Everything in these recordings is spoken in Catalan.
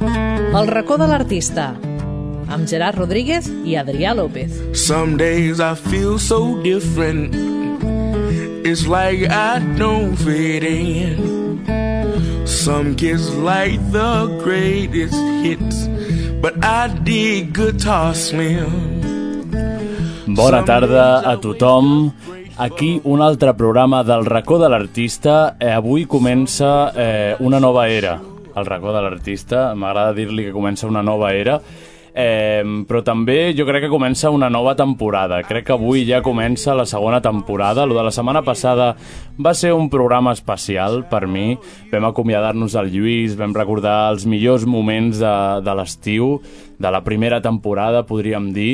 El racó de l'artista amb Gerard Rodríguez i Adrià López. Some days I feel so different. It's like I don't fit in. Some kids like the greatest hits, but I dig guitar slim. Bona tarda a tothom. Aquí un altre programa del racó de l'artista. Eh, avui comença eh, una nova era. El racó de l'artista, m'agrada dir-li que comença una nova era. Eh, però també jo crec que comença una nova temporada. Crec que avui ja comença la segona temporada. Lo de la setmana passada va ser un programa especial per mi. Vam acomiadar-nos del Lluís, vam recordar els millors moments de, de l'estiu, de la primera temporada, podríem dir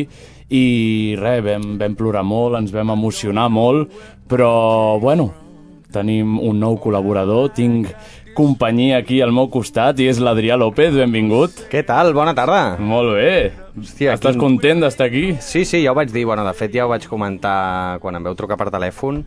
i res, vam, vam plorar molt, ens vam emocionar molt, però bueno, tenim un nou col·laborador, tinc companyia aquí al meu costat i és l'Adrià López, benvingut. Què tal? Bona tarda. Molt bé. Hòstia, Estàs quin- content d'estar aquí? Sí, sí, ja ho vaig dir. Bueno, de fet, ja ho vaig comentar quan em veu trucar per telèfon.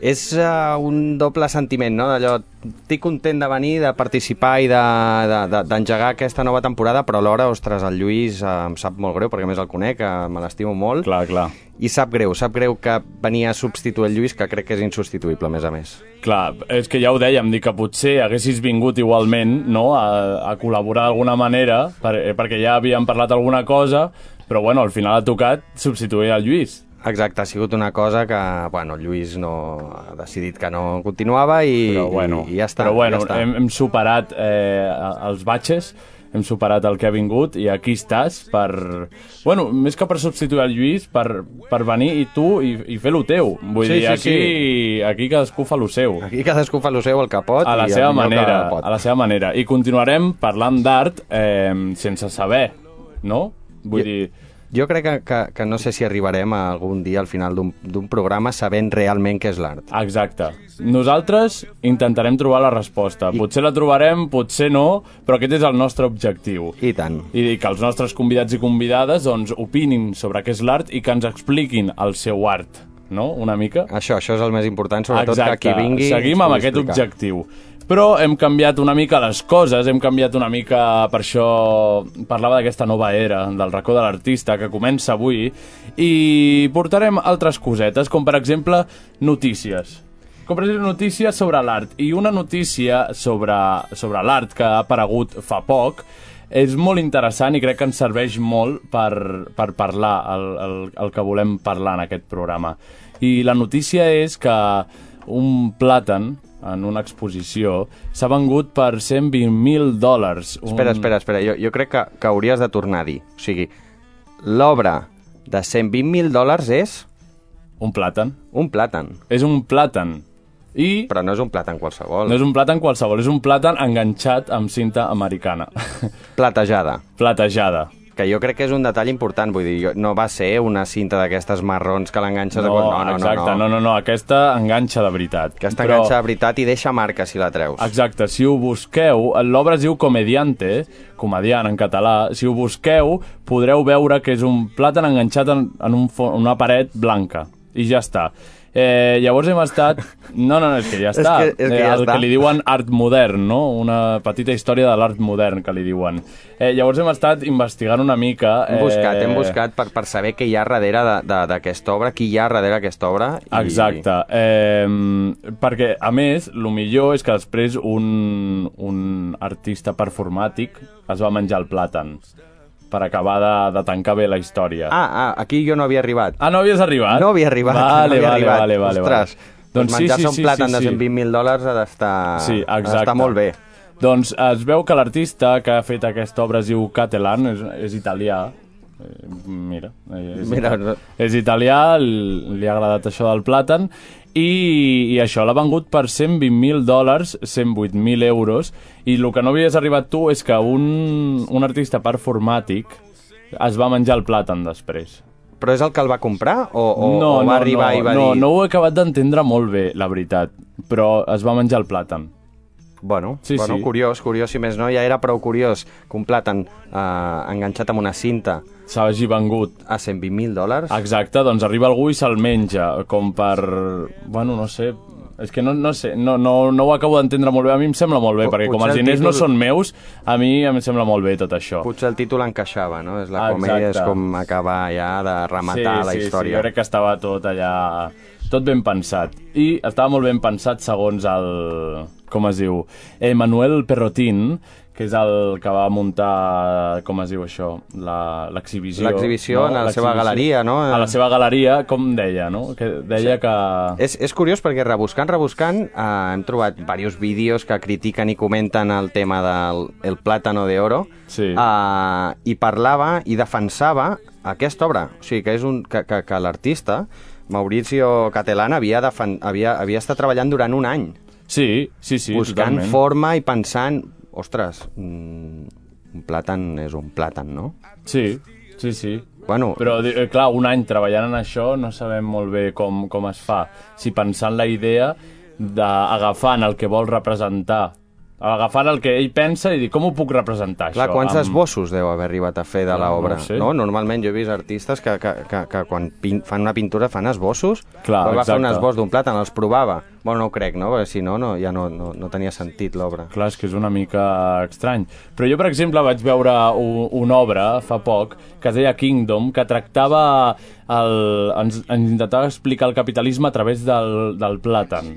És uh, un doble sentiment, no? D'allò, estic content de venir, de participar i d'engegar de, de, d'engegar aquesta nova temporada, però alhora, ostres, el Lluís uh, em sap molt greu, perquè a més el conec, uh, me l'estimo molt. Clar, clar. I sap greu, sap greu que venia a substituir el Lluís, que crec que és insubstituïble, a més a més. Clar, és que ja ho dèiem, dic que potser haguessis vingut igualment no, a, a col·laborar d'alguna manera, per, eh, perquè ja havíem parlat alguna cosa, però bueno, al final ha tocat substituir el Lluís. Exacte, ha sigut una cosa que, bueno, el Lluís no ha decidit que no continuava i, però bueno, i, i ja està. però bueno ja està. Hem, hem superat eh, els batxes, hem superat el que ha vingut i aquí estàs per... Bueno, més que per substituir el Lluís, per, per venir i tu i, i fer lo teu. Vull Sí, dir, sí, aquí, aquí cadascú fa lo seu. Aquí cadascú fa el seu el que pot A la i el seva millor que manera, pot. a la seva manera. I continuarem parlant d'art eh, sense saber, no? Vull Jo- dir, Jo crec que, que, que no sé si arribarem a algun dia al final d'un- d'un programa sabent realment què és l'art. exacte. Nosaltres intentarem trobar la resposta. Potser la trobarem, potser no, però aquest és el nostre objectiu. I tant. i que els nostres convidats i convidades doncs, opinin sobre què és l'art i que ens expliquin el seu art, no?, una mica. Això, això és el més important, Ah, sobretot que qui vingui... seguim ens amb pugui aquest explicar. objectiu. Però hem canviat una mica les coses, hem canviat una mica, per això parlava d'aquesta nova era, del racó de l'artista, que comença avui, i portarem altres cosetes, com per exemple notícies. Com per exemple notícies sobre l'art. I una notícia sobre, sobre l'art que ha aparegut fa poc, és molt interessant i crec que ens serveix molt per, per parlar el, el, el que volem parlar en aquest programa. I la notícia és que un plàtan en una exposició s'ha vengut per 120.000 dòlars. Un... Espera, espera, espera. Jo, jo crec que, que hauries de tornar a dir. O sigui, l'obra de 120.000 dòlars és Un plàtan. un plàtan. És un plàtan. I Però no és un plàtan qualsevol. no és un plàtan qualsevol, és un plàtan enganxat amb cinta americana. Platejada. Platejada. Que jo crec que és un detall important. Vull dir, jo, no va ser una cinta d'aquestes marrons que l'enganxes... a No, qual- exacte, no, no, no, aquesta enganxa de veritat. Aquesta Però- enganxa de veritat i deixa marca si la treus. Exacte, si ho busqueu, l'obra es diu Comediante, comediant en català, si ho busqueu podreu veure que és un plàtan enganxat en, en un fo- una paret blanca, i ja està. Eh, llavors hem estat... No, no, no, és que ja És està. Eh, que- és que ja el està. que li diuen art modern, no? Una petita història de l'art modern, que li diuen. Eh, llavors hem estat investigant una mica... Hem buscat, hem eh, buscat per, per saber què hi ha darrere de- de- d'aquesta obra, qui hi ha darrere d'aquesta obra. I... Exacte. Eh, perquè, a més, el millor és que després un, un artista performàtic es va menjar el plàtan per acabar de, de tancar bé la història. Ah, ah, aquí jo no havia arribat. ah no havies arribat? No havia arribat. no Vale, havia vale, arribat. vale, vale. Ostres, vale. doncs menjar-se un plàtan de 120.000 dòlars ha d'estar Sí, ha exacte. d'estar molt bé. Doncs es veu que l'artista que ha fet aquesta obra es diu Catalan, és, és italià. Eh, Mira, eh, és, Mira, italià. és italià, l- li ha agradat això del plàtan, i, i això l'ha vengut per 120.000 dòlars, 108.000 euros, i el que no havies arribat tu és que un, un artista performàtic es va menjar el plàtan després. Però és el que el va comprar o, o, o va arribar no, i va no, dir... No ho he acabat d'entendre molt bé, la veritat, però es va menjar el plàtan. Bueno, Sí, bueno sí. curiós, curiós, si més no, ja era prou curiós que un plàtan eh, enganxat amb una cinta S'hagi vengut a 120.000 dòlars. Exacte, doncs arriba algú i se'l menja, com per... Bueno, no sé, És que no, no sé, no, no, no ho acabo d'entendre molt bé. A mi em sembla molt bé, Po- perquè com potser els el diners no títol- són meus, a mi em sembla molt bé tot això. Potser el títol encaixava, no? És la Ah, comèdia, és exacte. com acabar ja de rematar la Sí, jo història. crec que estava tot allà... Tot ben pensat. I estava molt ben pensat segons el... Com es diu? Emmanuel Perrotin, que és el que va muntar, com es diu això, La- l'exhibició. L'exhibició en la seva L'exhibició. galeria, no? A la seva galeria, com deia, no? Que deia sí. que... És, és curiós perquè rebuscant, rebuscant, eh, hem trobat diversos vídeos que critiquen i comenten el tema del el plàtano de oro Sí. eh, i parlava i defensava aquesta obra. O sigui, que és un que, que, que l'artista, Mauricio Catalán, havia, defen, havia, havia estat treballant durant un any, Sí, sí, sí, buscant totalment. forma i pensant, ostres, mm, un plàtan és un plàtan, no? Sí, sí, sí. Bueno, Però, di- eh, clar, un any treballant en això no sabem molt bé com, com es fa. Si pensant la idea d'agafant el que vol representar, agafant el que ell pensa i dir com ho puc representar, Clar, això? quants esbossos deu haver arribat a fer de no ho l'obra? sé. Ah, No, Normalment jo he vist artistes que, que, que, que quan pin, fan una pintura fan esbossos, Clar, però va fer un exacte. esbós d'un plàtan, els provava. Bueno, no ho crec, no? Perquè si no, no ja no, no, no tenia sentit l'obra. Clar, és que és una mica estrany. Però jo, per exemple, vaig veure u- una obra fa poc que es deia Kingdom, que tractava... El, ens, ens intentava explicar el capitalisme a través del, del plàtan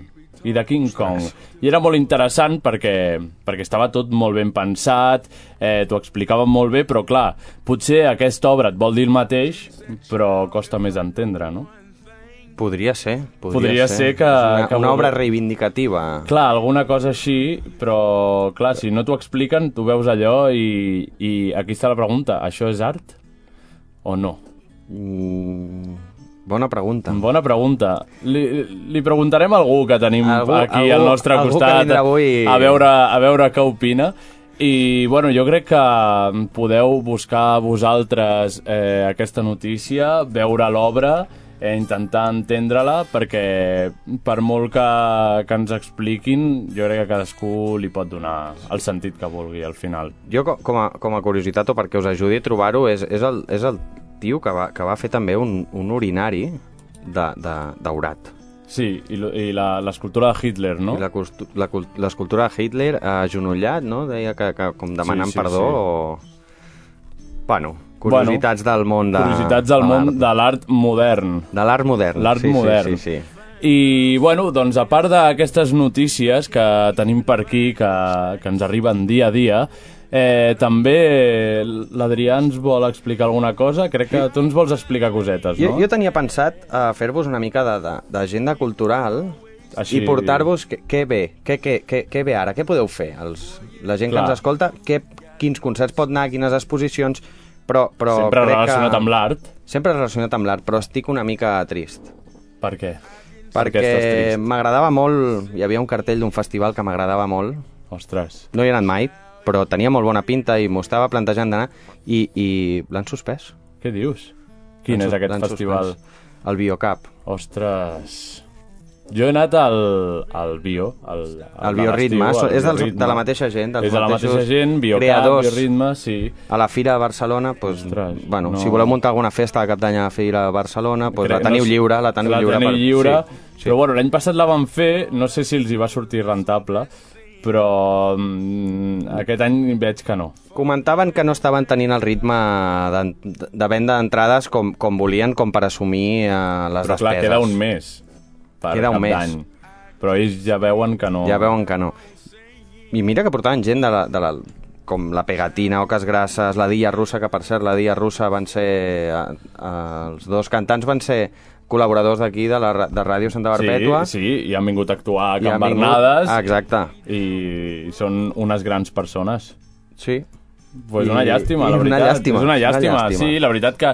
i de King Kong. I era molt interessant perquè, perquè estava tot molt ben pensat, eh, t'ho explicaven molt bé, però clar, potser aquesta obra et vol dir el mateix, però costa més d'entendre, no? Podria ser. Podria, Podria ser que- És Una, que una vol- obra reivindicativa. Clar, alguna cosa així, però clar, si no t'ho expliquen, tu veus allò i, i aquí està la pregunta, això és art o no? Mm, bona pregunta. Bona pregunta. Li, li preguntarem a algú que tenim Algú- algú, aquí algú- al nostre algú que costat vindrà avui. a, veure, a veure què opina. I, bueno, jo crec que podeu buscar vosaltres eh, aquesta notícia, veure l'obra, eh, intentar entendre-la, perquè per molt que, que ens expliquin, jo crec que cadascú li pot donar el sentit que vulgui al final. Jo, co- com a, com a curiositat, o perquè us ajudi a trobar-ho, és, és, el, és el tio que va, que va fer també un, un urinari de, de, daurat. Sí, i, lo- i la- l'escultura de Hitler, no? I La, costu- la, cul- l'escultura de Hitler eh, agenollat, no? Deia que, que com demanant Sí, sí, sí, sí, perdó o... Bueno, curiositats bueno, del món de Curiositats del món de l'art modern. de l'art modern. L'art sí, modern. Sí, sí, sí. I, bueno, doncs a part d'aquestes notícies que tenim per aquí, que, que ens arriben dia a dia, eh, també l'Adrià ens vol explicar alguna cosa. Crec que tu ens vols explicar cosetes, Jo, no? jo tenia pensat a fer-vos una mica de- de- d'agenda cultural Així- Així... i portar-vos què- què ve, què, què, què, què ve ara, què podeu fer? Els, la gent Clar. que ens escolta, què, quins concerts pot anar, quines exposicions, però, però Sempre crec relacionat que... amb l'art. Sempre relacionat amb l'art, però estic una mica trist. Per què? estàs perquè trist? m'agradava molt, hi havia un cartell d'un festival que m'agradava molt, Ostres. no hi he anat mai, però tenia molt bona pinta i m'ho estava plantejant d'anar, i, i l'han suspès. Què dius? Quin L'han és sus- aquest l'han festival? Suspès. El Biocap. Ostres... Jo he anat al, al Bio, al, al El de Bioritme, l'estiu, al és dels, Bioritme. de la mateixa gent, dels És de la mateixos mateixa gent, Biocat, creadors. Bioritme, sí. A la Fira de Barcelona, doncs, Ostres, bueno, no. si voleu muntar alguna festa de cap d'any a la Fira de Barcelona, doncs Crec- la teniu no sé- lliure, la teniu la lliure. Teniu lliure Sí. sí. Però bueno, l'any passat la van fer, no sé si els hi va sortir rentable, però mm, aquest any veig que no. Comentaven que no estaven tenint el ritme de, de venda d'entrades com, com volien, com per assumir eh, les Però despeses. clar, queda un mes per Queda un cap mes. d'any. Però ells ja veuen que no... Oh. Ja veuen que no. I mira que portaven gent de la, de la, com la Pegatina, Oques Grasses, la Dia Russa, que per cert, la Dia Russa van ser... eh, eh, els dos cantants van ser col·laboradors d'aquí, de, la, ra- de Ràdio Santa sí, Barpètua. sí, i han vingut a actuar a i Can han vingut- Bernades Ah, exacte. i són unes grans persones. Sí. Pues una I- llàstima, la i una veritat. llàstima, és una llàstima, una llàstima. sí, la veritat que...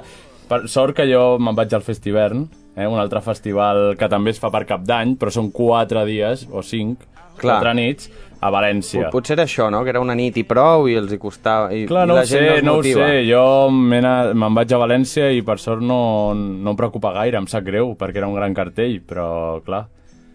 Per sort que jo me'n vaig al Festivern, eh, un altre festival que també es fa per cap d'any, però són quatre dies, o cinc, Clar. quatre nits, a València. Pot- Potser era això, no? Que era una nit i prou i els hi costava... I, Clar, i no ho la gent sé, els no ho motiva. sé. Jo me n'ha- me'n vaig a València i per sort no, no em preocupa gaire, em sap greu, perquè era un gran cartell, però clar...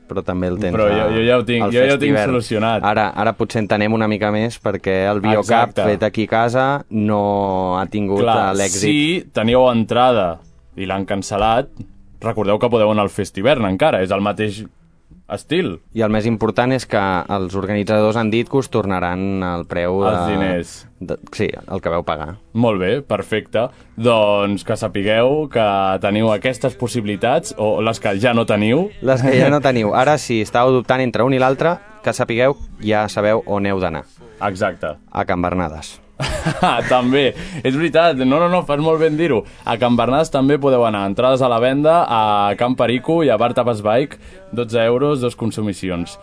Però també el tens Però jo- a- jo ja ho tinc- al jo ja ho tinc Festivern. solucionat. Ara, ara potser entenem una mica més perquè el Biocap Exacte. fet aquí a casa no ha tingut eh, Clar, l'èxit si teníeu entrada i l'han cancel·lat, recordeu que podeu anar al Festivern encara, és el mateix Estil. I el més important és que els organitzadors han dit que us tornaran el preu de... Els diners. De, sí, el que veu pagar. Molt bé, perfecte. Doncs que sapigueu que teniu aquestes possibilitats, o les que ja no teniu, Les que ja no teniu. Ara, si estàveu dubtant entre un i l'altre, que sapigueu, ja sabeu on heu d'anar. exacte. A Can Bernades. també, és veritat, no, no, no, fas molt ben dir-ho. A Can Bernades també podeu anar, entrades a la venda, a Can Perico i a Bar Tapas Bike, 12 euros, dos consumicions.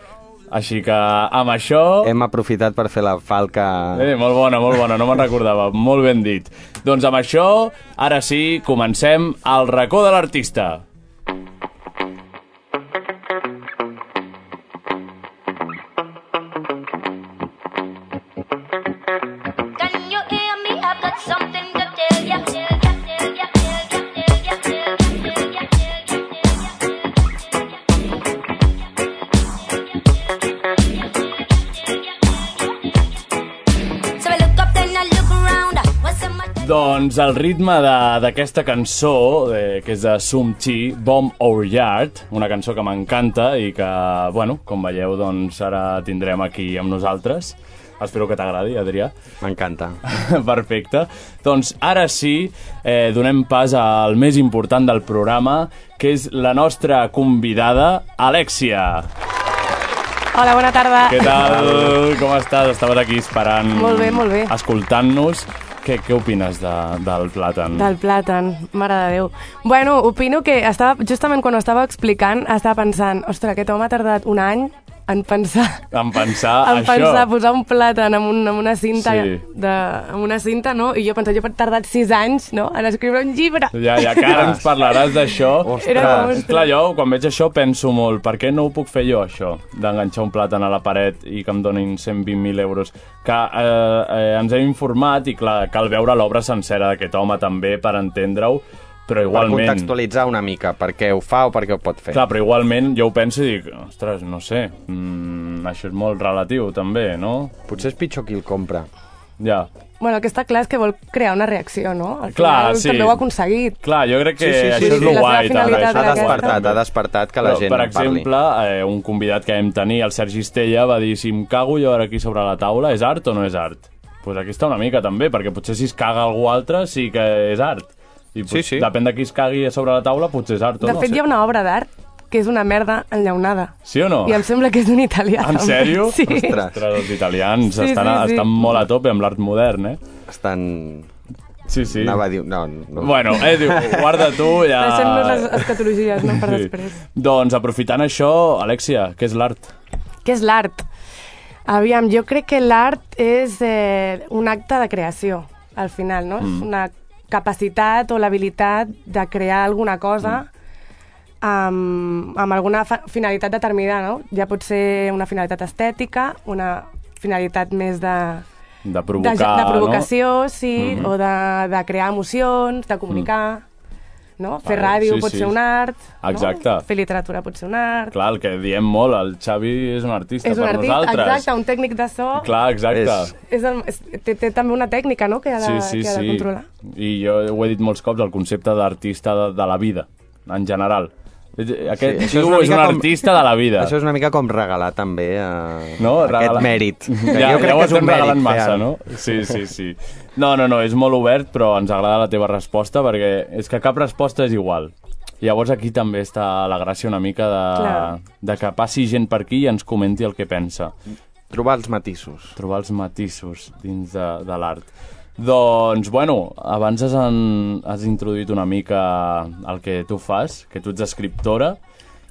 Així que amb això... Hem aprofitat per fer la falca... Eh, molt bona, molt bona, no me'n recordava, molt ben dit. Doncs amb això, ara sí, comencem el racó de l'artista. Can you hear me? I've got something to tell ya. Tell ya, tell ya, tell ya, tell ya, tell ya, tell ya, tell ya, tell ya. So I look up and I look around. What's in my Doncs el ritme de- d'aquesta cançó, eh, que és de Sum Chi, Bomb Our Yard, una cançó que m'encanta i que, bueno, com veieu, doncs ara tindrem aquí amb nosaltres. Espero que t'agradi, Adrià. M'encanta. Perfecte. Doncs ara sí, eh, donem pas al més important del programa, que és la nostra convidada, Alexia. Hola, bona tarda. Què tal? Com estàs? Estaves aquí esperant... Molt bé, molt bé. Escoltant-nos. Què, què opines de, del plàtan? Del plàtan, mare de Déu. Bueno, opino que estava, justament quan ho estava explicant, estava pensant, ostres, aquest home ha tardat un any en pensar... En pensar en això. pensar, posar un plàtan amb, un, amb una cinta, Sí. de, amb una cinta, no? I jo pensava, jo he tardat sis anys, no?, en escriure un llibre. Ja, ja, que ara ens parlaràs d'això. Era com, Ostres. ostres. Clar, jo quan veig això penso molt, per què no ho puc fer jo, això? D'enganxar un plàtan a la paret i que em donin 120.000 euros. Que eh, eh, ens hem informat i clar, cal veure l'obra sencera d'aquest home també per entendre-ho, però Per igualment... contextualitzar una mica, per què ho fa o per què ho pot fer. Clar, però igualment jo ho penso i dic, ostres, no sé, mm, això és molt relatiu també, no? Potser és pitjor qui el compra. Ja. Bueno, el que està clar és que vol crear una reacció, no? Al Clar, final, sí. També ho ha aconseguit. Clar, jo crec que Sí, sí, sí, això sí, és sí, lo la seva guai. també, finalitat això Ha és lo guai, despertat, també. ha despertat que la Però, gent per exemple, eh, un convidat que vam tenir, el Sergi Estella, va dir, si em cago jo ara aquí sobre la taula, és art o no és art? Doncs pues aquí està una mica, també, perquè potser si es caga algú altre sí que és art. I pot- Sí, sí. Depèn de qui es cagui a sobre la taula, potser és art o De no. fet, sé. hi ha una obra d'art que és una merda enllaunada. Sí o no? I em sembla que és d'un italià. En també. sèrio? Sí. Ostres. Ostres, els italians Sí, estan, sí, sí. estan molt a tope amb l'art modern, eh? parli. Estan... Sí, sí. Anava a dir... No, no. Bueno, eh, diu, guarda tu, ja... Deixem-nos les escatologies, no, per després. Doncs aprofitant això, Alexia, què és l'art? Què és l'art? Aviam, jo crec que l'art és eh, un acte de creació, al final, no? Mm. És una capacitat o l'habilitat de crear alguna cosa amb, amb alguna fa- finalitat determinada, no? Ja pot ser una finalitat estètica, una finalitat més de... De provocar, de, de no? Mhm. provocació, no? sí, mm -hmm. o de, de crear emocions, de comunicar, no? Fer Mhm. Vale, ràdio sí, pot sí. ser un art, Exacte. no? Fer literatura pot ser un art, Clar, el que diem molt, el Xavi és un artista és un per artista, nosaltres. exacte, un tècnic de so. Clar, exacte. És- És el, és, té, té també una tècnica, no?, que ha de, Sí, sí, que ha de sí. controlar. I jo ho he dit molts cops, el concepte d'artista de, de la vida, en general. Eh, Aquest això és sí, una tio és mica un com- artista de la vida. Això és una mica com regalar també eh, no? aquest Regala- mèrit. Que Ja, jo crec ja ho que és estem un mèrit. regalant massa, fer-ho. no? Sí, sí, sí. No, no, no, és molt obert, però ens agrada la teva resposta perquè és que cap resposta és igual. Llavors aquí també està la gràcia una mica de, Clar. de que passi gent per aquí i ens comenti el que pensa. Trobar els matisos. Trobar els matisos dins de, de l'art. Doncs, bueno, abans has, en, has introduït una mica el que tu fas, que tu ets escriptora.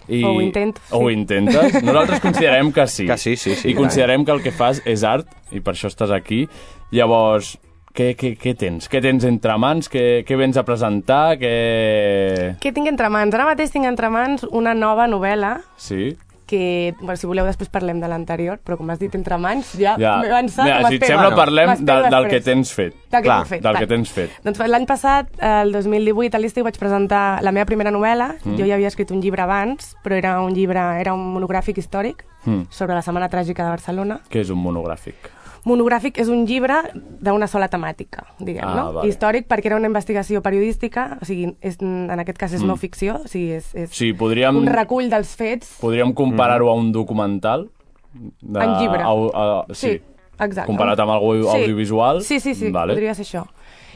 I, O ho intento, O ho sí. intentes. Nosaltres considerem que sí. Que sí, sí, sí, I clar. considerem que el que fas és art, i per això estàs aquí. Llavors, què, què, què tens? Què tens entre mans? Què, què vens a presentar? Què... Què tinc entre mans? Ara mateix tinc entre mans una nova novel·la Sí? que, bueno, si voleu, després parlem de l'anterior, però com has dit entre mans, ja, Ja. Ah, m'he avançat. Mira, si et m'espero. sembla, parlem M'espero del, del després. que tens fet. Del que Clar, tinc fet. del vale. que tens fet. Doncs l'any passat, el 2018, a l'estiu vaig presentar la meva primera novel·la. Mm. Jo ja havia escrit un llibre abans, però era un llibre, era un monogràfic històric Mm. sobre la Setmana Tràgica de Barcelona. Què és un monogràfic? Monogràfic és un llibre d'una sola temàtica, diguem, Ah, no? vale. Històric perquè era una investigació periodística, o sigui, és, en aquest cas és no ficció, o sigui, és, és Mm. Sí, podríem- un recull dels fets Podríem comparar-ho a un documental? De, En llibre. A, a, sí. exacte. Comparat amb algú audiovisual? Sí, sí, sí, Vale. Mhm. podria ser això.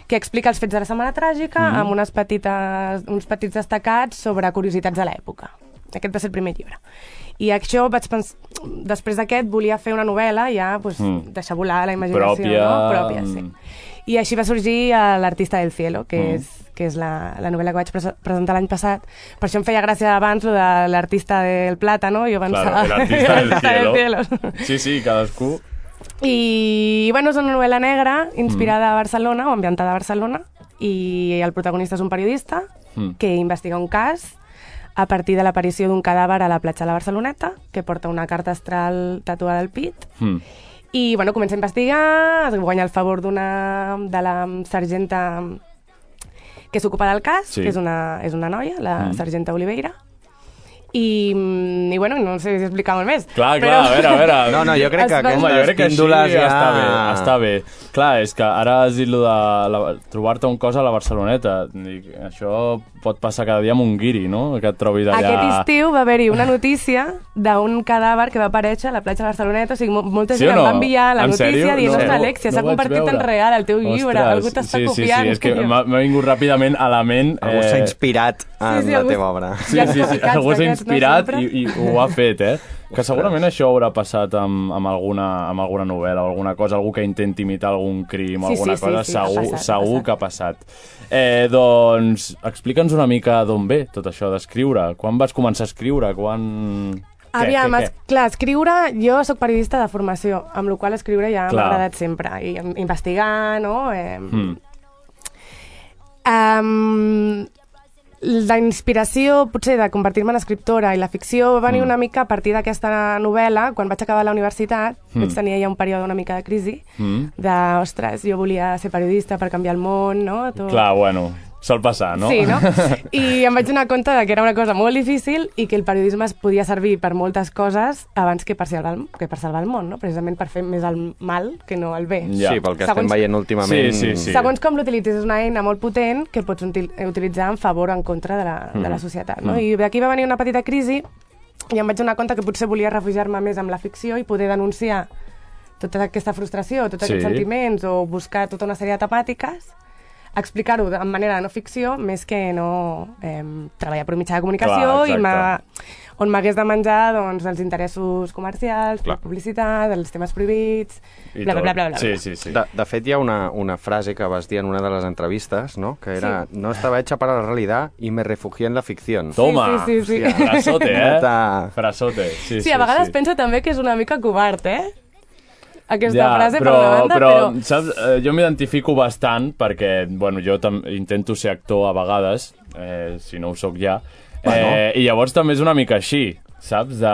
Que explica els fets de la Setmana Tràgica amb unes petites, uns petits destacats sobre curiositats de l'època. Aquest va ser el primer llibre. I això vaig pensar... Després d'aquest volia fer una novel·la, ja pues, mm. deixar volar la imaginació. Mhm. Pròpia, No? Pròpia, sí. mm. I així va sorgir eh, L'Artista del Cielo, que Mhm. mm. és, que és la, la novel·la que vaig prese- presentar l'any passat. Per això em feia gràcia abans lo de L'Artista del Plátano, jo pensava... Claro, el artista del L'artista cielo. cielo. Sí, sí, cadascú... I, bueno, és una novel·la negra Mm. inspirada a Barcelona o ambientada a Barcelona i el protagonista és un periodista Mm. que investiga un cas a partir de l'aparició d'un cadàver a la platja de la Barceloneta que porta una carta astral tatuada al pit Hmm. i, bueno, comença a investigar, es guanya el favor d'una... de la sergenta que s'ocupa del cas, Sí. que és una, és una noia, la Mm. sergenta Oliveira, i, mm, i bueno, no sé si explicar molt més. Clar, clar, a veure, a veure... No, no, jo crec que Es va- aquestes Ah, Home, jo crec que així píndoles ja... està bé, està bé. Clar, és que ara has dit lo de la- trobar-te un cos a la Barceloneta. Dic, això pot passar cada dia amb un guiri, no? Que et trobis allà... Aquest estiu va haver-hi una notícia d'un cadàver que va aparèixer a la platja de Barceloneta, o sigui, mo- molta Sí gent o no? em va enviar la En notícia sèrio? dient, No. ostres, Alexia, No s'ha ho vaig convertit en veure. real el teu llibre, Ostres, algú t'està sí, copiant. Sí, sí, és que tio. m'ha m'ha vingut ràpidament a la ment... eh, Algú s'ha inspirat en sí, la algú- teva obra. Sí, Ja sí, sí, sóc algú s'ha d'aquests, no, inspirat sempre. i, i ho ha fet, eh? Que segurament això haurà passat amb, amb, alguna, amb alguna novel·la o alguna cosa, algú que intenti imitar algun crim o Sí, alguna sí, sí, cosa, sí, ha segur, passat, ha segur passat. que ha passat. Eh, doncs, explica'ns una mica d'on ve tot això d'escriure. Quan vas començar a escriure? Quan... Què, Aviam, què, es, què? clar, escriure... Jo sóc periodista de formació, amb la qual cosa escriure ja m'ha Clar. agradat sempre. I em- investigar, no? Eh, mm. Mm. Um, la inspiració, potser, de convertir-me en escriptora i la ficció va Hmm. venir una mica a partir d'aquesta novel·la, quan vaig acabar la universitat, Hmm. mm. vaig tenir ja un període una mica de crisi, Mm. de, ostres, jo volia ser periodista per canviar el món, no? Tot... Clar, bueno, sol passar, no? Sí, no? I em vaig donar compte de que era una cosa molt difícil i que el periodisme es podia servir per moltes coses abans que per salvar el, que per salvar el món, no? Precisament per fer més el mal que no el bé. Ja. Sí, pel que Segons- estem veient últimament... Sí, sí, sí. Segons com l'utilitzis, és una eina molt potent que pots util- eh, utilitzar en favor o en contra de la, de Mm-hmm. la societat. No? I d'aquí va venir una petita crisi i em vaig donar compte que potser volia refugiar-me més amb la ficció i poder denunciar tota aquesta frustració, tots aquests Sí. sentiments o buscar tota una sèrie de temàtiques explicar-ho de manera no ficció més que no eh, treballar per mitjà de comunicació Clar, exacte. i m'ha- on m'hagués de menjar doncs, els interessos comercials, la Clar. publicitat, els temes prohibits, I bla, bla, tot. bla, bla, bla. Sí, sí, sí. De, de fet, hi ha una, una frase que vas dir en una de les entrevistes, no? Que era, no estaba hecha para la realidad y me refugié en la ficción. Toma! Sí, sí, sí, sí. Hòstia, Frasote, eh? Nota. Frasote, sí, sí. Sí, a vegades sí. penso també que és una mica covard, eh? Aquesta ja, frase, però, per una banda, però, però... Saps, eh, jo m'identifico bastant perquè, bueno, jo tam- intento ser actor a vegades, eh, si no ho sóc ja, eh, i llavors també és una mica així, saps? De,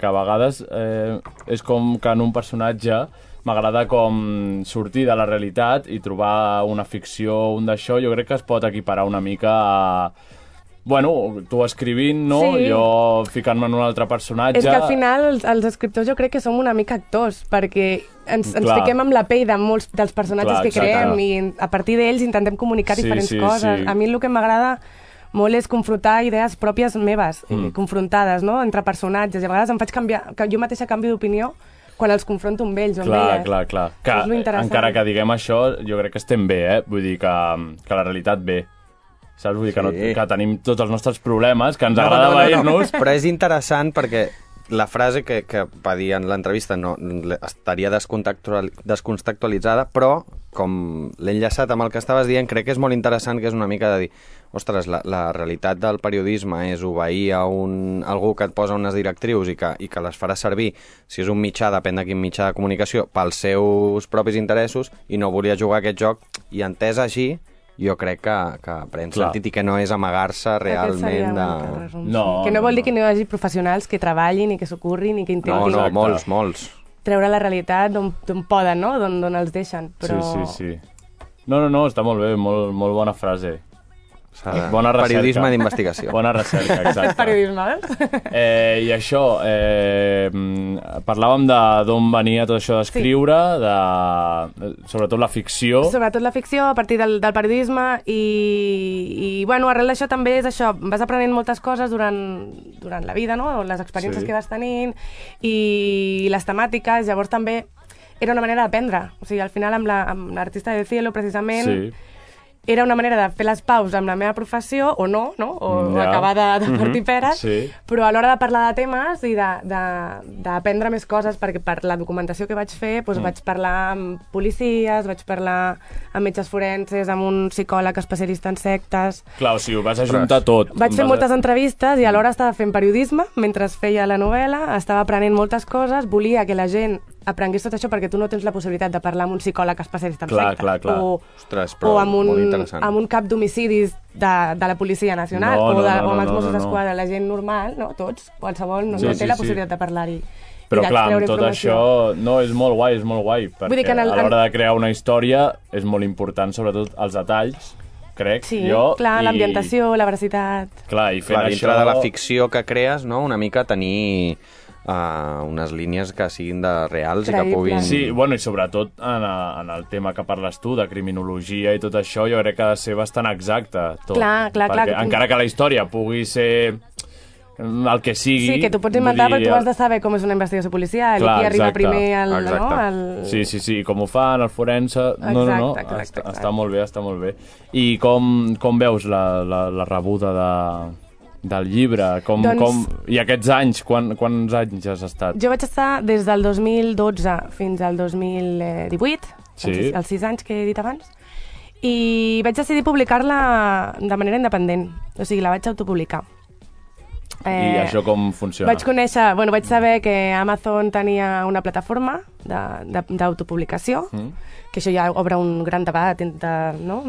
que a vegades eh, és com que en un personatge m'agrada com sortir de la realitat i trobar una ficció, un d'això, jo crec que es pot equiparar una mica a... Bueno, tu escrivint, no? Sí. Jo ficant-me en un altre personatge... És que al final els, els escriptors jo crec que som una mica actors, perquè ens, ens Clar. fiquem amb la pell de molts dels personatges Clar, que exacte. creem i en- a partir d'ells intentem comunicar Sí, diferents sí, coses. sí. A mi el que m'agrada molt és confrontar idees pròpies meves, mm. confrontades, no?, entre personatges. I a vegades em faig canviar, que jo mateixa canvio d'opinió quan els confronto amb ells o amb Clar, elles. clar, clar. Que, eh? És lo interessant. encara que diguem això, jo crec que estem bé, eh? Vull dir que, que la realitat ve. Saps? Vull dir que, no, Sí. que tenim tots els nostres problemes, que ens agrada veir-nos. Però és interessant perquè la frase que, que va dir en l'entrevista no, l- estaria descontextual- descontextualitzada, però com l'he enllaçat amb el que estaves dient, crec que és molt interessant que és una mica de dir ostres, la, la realitat del periodisme és obeir a un, algú que et posa unes directrius i que, i que les farà servir, si és un mitjà, depèn de quin mitjà de comunicació, pels seus propis interessos i no volia jugar aquest joc i entès així, jo crec que, que pren Clar. sentit i que no és amagar-se Aquest seria realment una mica el de... resum, No, sí. que no no, vol dir no. que no hi hagi professionals que treballin i que s'ocorrin i No, que intentin no, Exacte. molts, molts. treure la realitat d'on d'on poden, no? D'on d'on els deixen. Però... Sí, sí, sí. No, no, no, està molt bé, molt, molt bona frase. S'ha de- Eh, Bona recerca. Ah, Periodisme d'investigació. Bona recerca, És exacte. periodisme, veus? Eh, I això, eh, mm, parlàvem de d'on venia tot això d'escriure, de, eh, sobretot la ficció. Sobretot la ficció, a partir del, del periodisme i, i, bueno, arrel d'això també és això, vas aprenent moltes coses durant, durant la vida, no? les experiències Sí. sí. que vas tenint i les temàtiques, llavors també era una manera d'aprendre. O sigui, al final amb la- amb l'artista la, de Cielo, precisament, Sí. era una manera de fer les paus amb la meva professió, o no, no? o Mm, Ja. Mhm, ja. acabar de, de partir peres, Sí. però a l'hora de parlar de temes i de- de- d'aprendre més coses, perquè per la documentació que vaig fer Mm. doncs vaig parlar amb policies, vaig parlar amb metges forenses, amb un psicòleg especialista en sectes... Clar, o sigui, ho vas ajuntar tot. Vaig fer Vas- moltes entrevistes i alhora estava fent periodisme mentre feia la novel·la, estava aprenent moltes coses, volia que la gent aprengués tot això perquè tu no tens la possibilitat de parlar amb un psicòleg especialista en Clar, sectes. clar, clar. O, Ostres, però o amb un, molt interessant. amb un cap d'homicidis de, de la Policia Nacional No, no, o, de, no, o amb els no, Mossos no, no. d'Esquadra. La gent normal, no? tots, qualsevol, no, Sí, no sí, té la sí. possibilitat de parlar-hi. i Però clar, amb d'extreure tot informació. això... No, és molt guai, és molt guai, perquè dir que en el- a l'hora de crear una història és molt important, sobretot, els detalls, crec, Sí, jo. clar, i- l'ambientació, la veracitat... Clar, i fent Clar, dintre això... de la ficció que crees, no? una mica tenir uh, unes línies que siguin de reals i Creïbles. que puguin... Sí, bueno, i sobretot en, eh, en el tema que parles tu, de criminologia i tot això, jo crec que ha de ser bastant exacte. Tot, Clar, clar, clar, perquè que tu- Encara que la història pugui ser mm, el que sigui... Sí, que tu pots vull inventar, dir, però tu has de saber com és una investigació policial Clar, i qui arriba exacte, primer al... exacte. No, al... Sí, sí, sí, com ho fan, el forense... no, no, no, Exacte, exacte, està, exacte. està molt bé, està molt bé. I com, com veus la, la, la rebuda de, del llibre? Com, Doncs- com... I aquests anys, quan, quants anys has estat? Jo vaig estar des del 2012 fins al 2018, Sí. els, els sis anys que he dit abans, i vaig decidir publicar-la de manera independent, o sigui, la vaig autopublicar. I això com funciona? eh, Vaig conèixer, bueno, vaig saber que Amazon tenia una plataforma de- de- d'autopublicació, Mm. que això ja obre un gran debat entre no?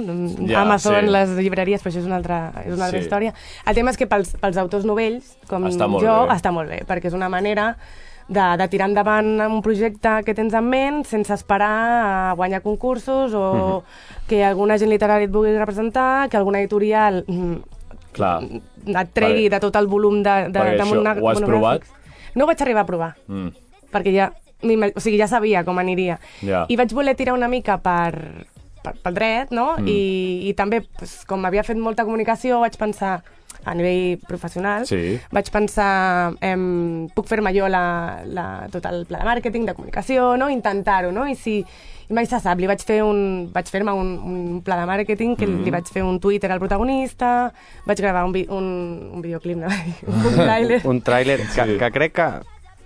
Ja, Amazon, sí. les llibreries, però això és una altra, és una altra Sí. història. El tema és que pels, pels autors novells, com Està molt jo, bé. està molt bé, perquè és una manera de, de tirar endavant un projecte que tens en ment sense esperar a guanyar concursos o Mhm. que algun agent literari et vulgui representar, que alguna editorial mm, Clar. et tregui Perquè- de tot el volum de, de, perquè de això mono- ho has provat? monogràfics. No ho vaig arribar a provar, Mm. perquè ja, m'ima- o sigui, ja sabia com aniria. Ja. I vaig voler tirar una mica per, per, pel dret, no? Mm. I, I també, pues, com havia fet molta comunicació, vaig pensar, a nivell professional, Sí. vaig pensar, em, puc fer-me jo la, la, tot el pla de màrqueting, de comunicació, no? intentar-ho, no? I si i mai se sap, li vaig fer un, vaig fer-me un, un pla de màrqueting, que Mm-hmm. mm. li vaig fer un Twitter al protagonista, vaig gravar un, vi, un, un videoclip, no? un trailer. Un tràiler que, que crec que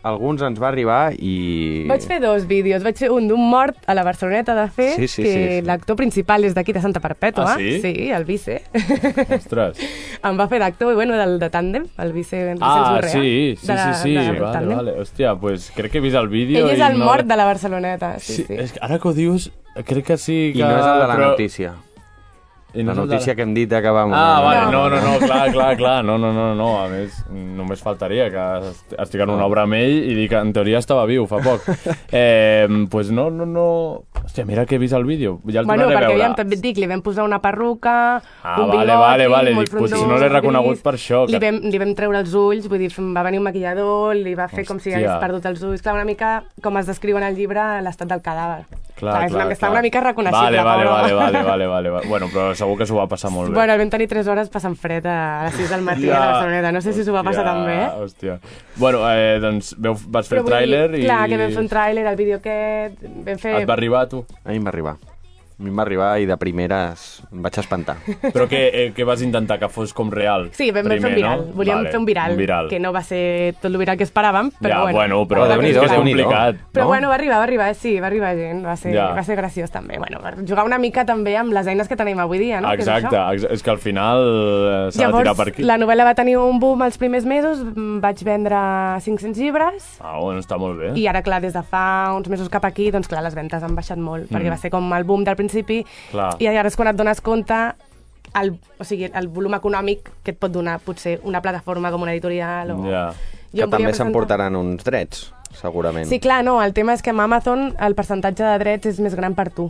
alguns ens va arribar i... Vaig fer dos vídeos. Vaig fer un d'un mort a la Barceloneta, de fet, Sí, sí, que sí, sí. l'actor principal és d'aquí, de Santa Perpètua. Ah, sí? Sí, el vice. Ostres. em va fer d'actor, i bueno, del de Tàndem, el vice Vicenç Ah, Borrea, sí, sí, de la- sí, sí. de la Vale, Tàndem. vale. Hòstia, pues crec que he vist el vídeo Ell és i el no... mort de la Barceloneta, sí, Sí, sí. És que ara que ho dius, crec que sí I que... no és el de la però- notícia. I no La és el de notícia que hem dit de que vam... Ah, vale, no, no, No. no, clar, clar, clar, no, no, no, no, a més, només faltaria que est- estic en una obra amb ell i dic que en teoria estava viu fa poc. Eh, pues no, no, no... Hòstia, mira que he vist el vídeo, ja el Bueno, tornaré perquè a veure. aviam, també et dic, li vam posar una perruca, Ah, un vale, bigoti, vale, vale, molt dic, potser frondós, no l'he reconegut gris. per això, Li que- vam, li vam treure els ulls, vull dir, em va venir un maquillador, li va fer com si Hòstia. hagués perdut els ulls. Clar, una mica com es descriu en el llibre l'estat del cadàver. Clar, és una- clar, Està clar. una mica Vale, reconeixible. vale, pobre. vale, vale, vale, vale, vale. Bueno, però segur que s'ho va passar molt bé. Bueno, el vam tenir 3 hores passant fred a les 6 del matí a la Barceloneta. No sé si s'ho va passar tan bé. Hòstia. Bueno, eh, doncs veu, vas fer el Però vull tràiler dir, i... Clar, que vam fer un tràiler, el vídeo aquest... Vam fer... Et va arribar, tu? A mi em va arribar. A mi em va arribar i de primeres em vaig espantar. Però que, eh, que vas intentar que fos com real. Sí, vam, vam fer un primer, viral. No? Volíem Vale, fer un viral, Un viral. que no va ser tot el viral que esperàvem, però ja, bueno. però Oh, és Déu-n'hi-do, que és Déu-n'hi-do. complicat. Però no? bueno, va arribar, va arribar, sí, va arribar gent, va ser, Ja. va ser graciós també. Bueno, per jugar una mica també amb les eines que tenim avui dia, no? Que és Exacte, això. exa- és que al final eh, s'ha de Llavors, tirar per aquí. la novel·la va tenir un boom els primers mesos, mm, vaig vendre 500 llibres, Ah, bueno, està molt bé. I ara, clar, des de fa uns mesos cap aquí, doncs clar, les ventes han baixat molt, mm. perquè va ser com el boom del principi, Clar. i ara és quan et dones compte el, o sigui, el volum econòmic que et pot donar potser una plataforma com una editorial o... Ja. que Jo em volia també presentar- s'emportaran uns drets, segurament. Sí, clar, no, el tema és que amb Amazon el percentatge de drets és més gran per tu.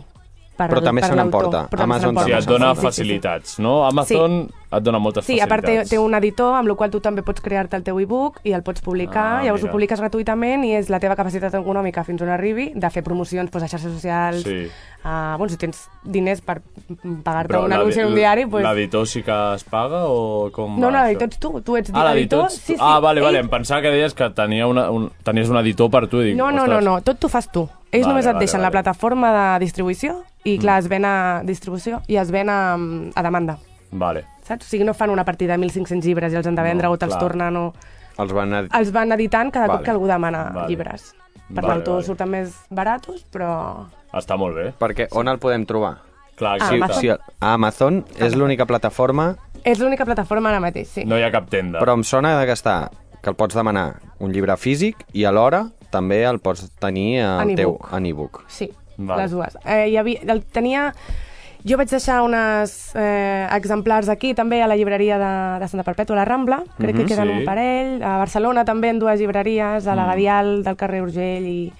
per Però també per se l'autor, n'emporta. però també Amazon se O sigui, també n'emporta. et dona Sí, sí, sí. facilitats, no? Amazon et dona moltes Sí, a part facilitats. té, té un editor amb el qual tu també pots crear-te el teu e-book i el pots publicar, Ah, llavors mira. ho publiques gratuïtament i és la teva capacitat econòmica fins on arribi de fer promocions doncs, a xarxes socials, Sí. a, bueno, si tens diners per mm, pagar-te Però un l'edi- anunci en un diari... Doncs... L'editor sí que es paga o com No, va no, això? l'editor ets tu, tu ets Ah, l'editor... editor, ets tu. Ah, vale, vale, em pensava que deies que tenia una, un, tenies un editor per tu. i Dic, No, no, no, ostres, no, tot t'ho fas tu. Ells Vale, vale, només et vale, deixen vale. Mm. la plataforma de distribució i, clar, es ven a distribució i es ven a, a demanda, Vale. saps? O sigui, no fan una partida de 1.500 llibres i els han de vendre No, o te'ls clar. tornen o... Els van a... Els van editant cada Vale. cop que algú demana Vale. llibres. Per Vale, l'autor vale. surten més baratos, però... Està molt bé. Perquè on el podem trobar? Clar, Ah, exacte. Amazon. Sí, a Amazon és l'única plataforma, És l'única plataforma ara mateix, sí. No hi ha cap tenda. però em sona de que està que el pots demanar un llibre físic i alhora també el pots tenir al En teu e-book. en e-book. Sí, Vale. vale. les dues. Eh, hi havia, el, tenia... Jo vaig deixar unes eh, exemplars aquí, també a la llibreria de, de Santa Perpètua, a la Rambla. Crec que queden Mhm, sí. Mhm. un parell. A Barcelona també en dues llibreries, a la Gadial, del carrer Urgell i...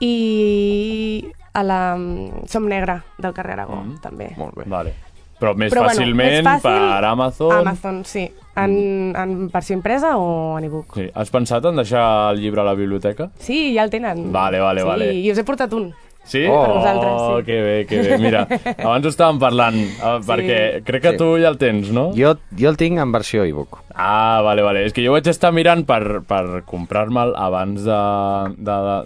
I a la mm, Som Negra, del carrer Aragó, Mhm, també. Molt bé. Vale. Però més Però, bueno, fàcilment més fàcil per Amazon... Mm. Amazon, sí. En, en versió impresa o en e-book? Sí. Has pensat en deixar el llibre a la biblioteca? Sí, ja el tenen. Vale, vale, sí, vale. I us he portat un. Sí? Oh. Per nosaltres, sí. que bé, que bé. Mira, abans ho estàvem parlant, eh, perquè crec que Sí. tu ja el tens, no? Jo, jo el tinc en versió e-book. Ah, vale, vale. És que jo vaig estar mirant per, per comprar-me'l abans de, de, de,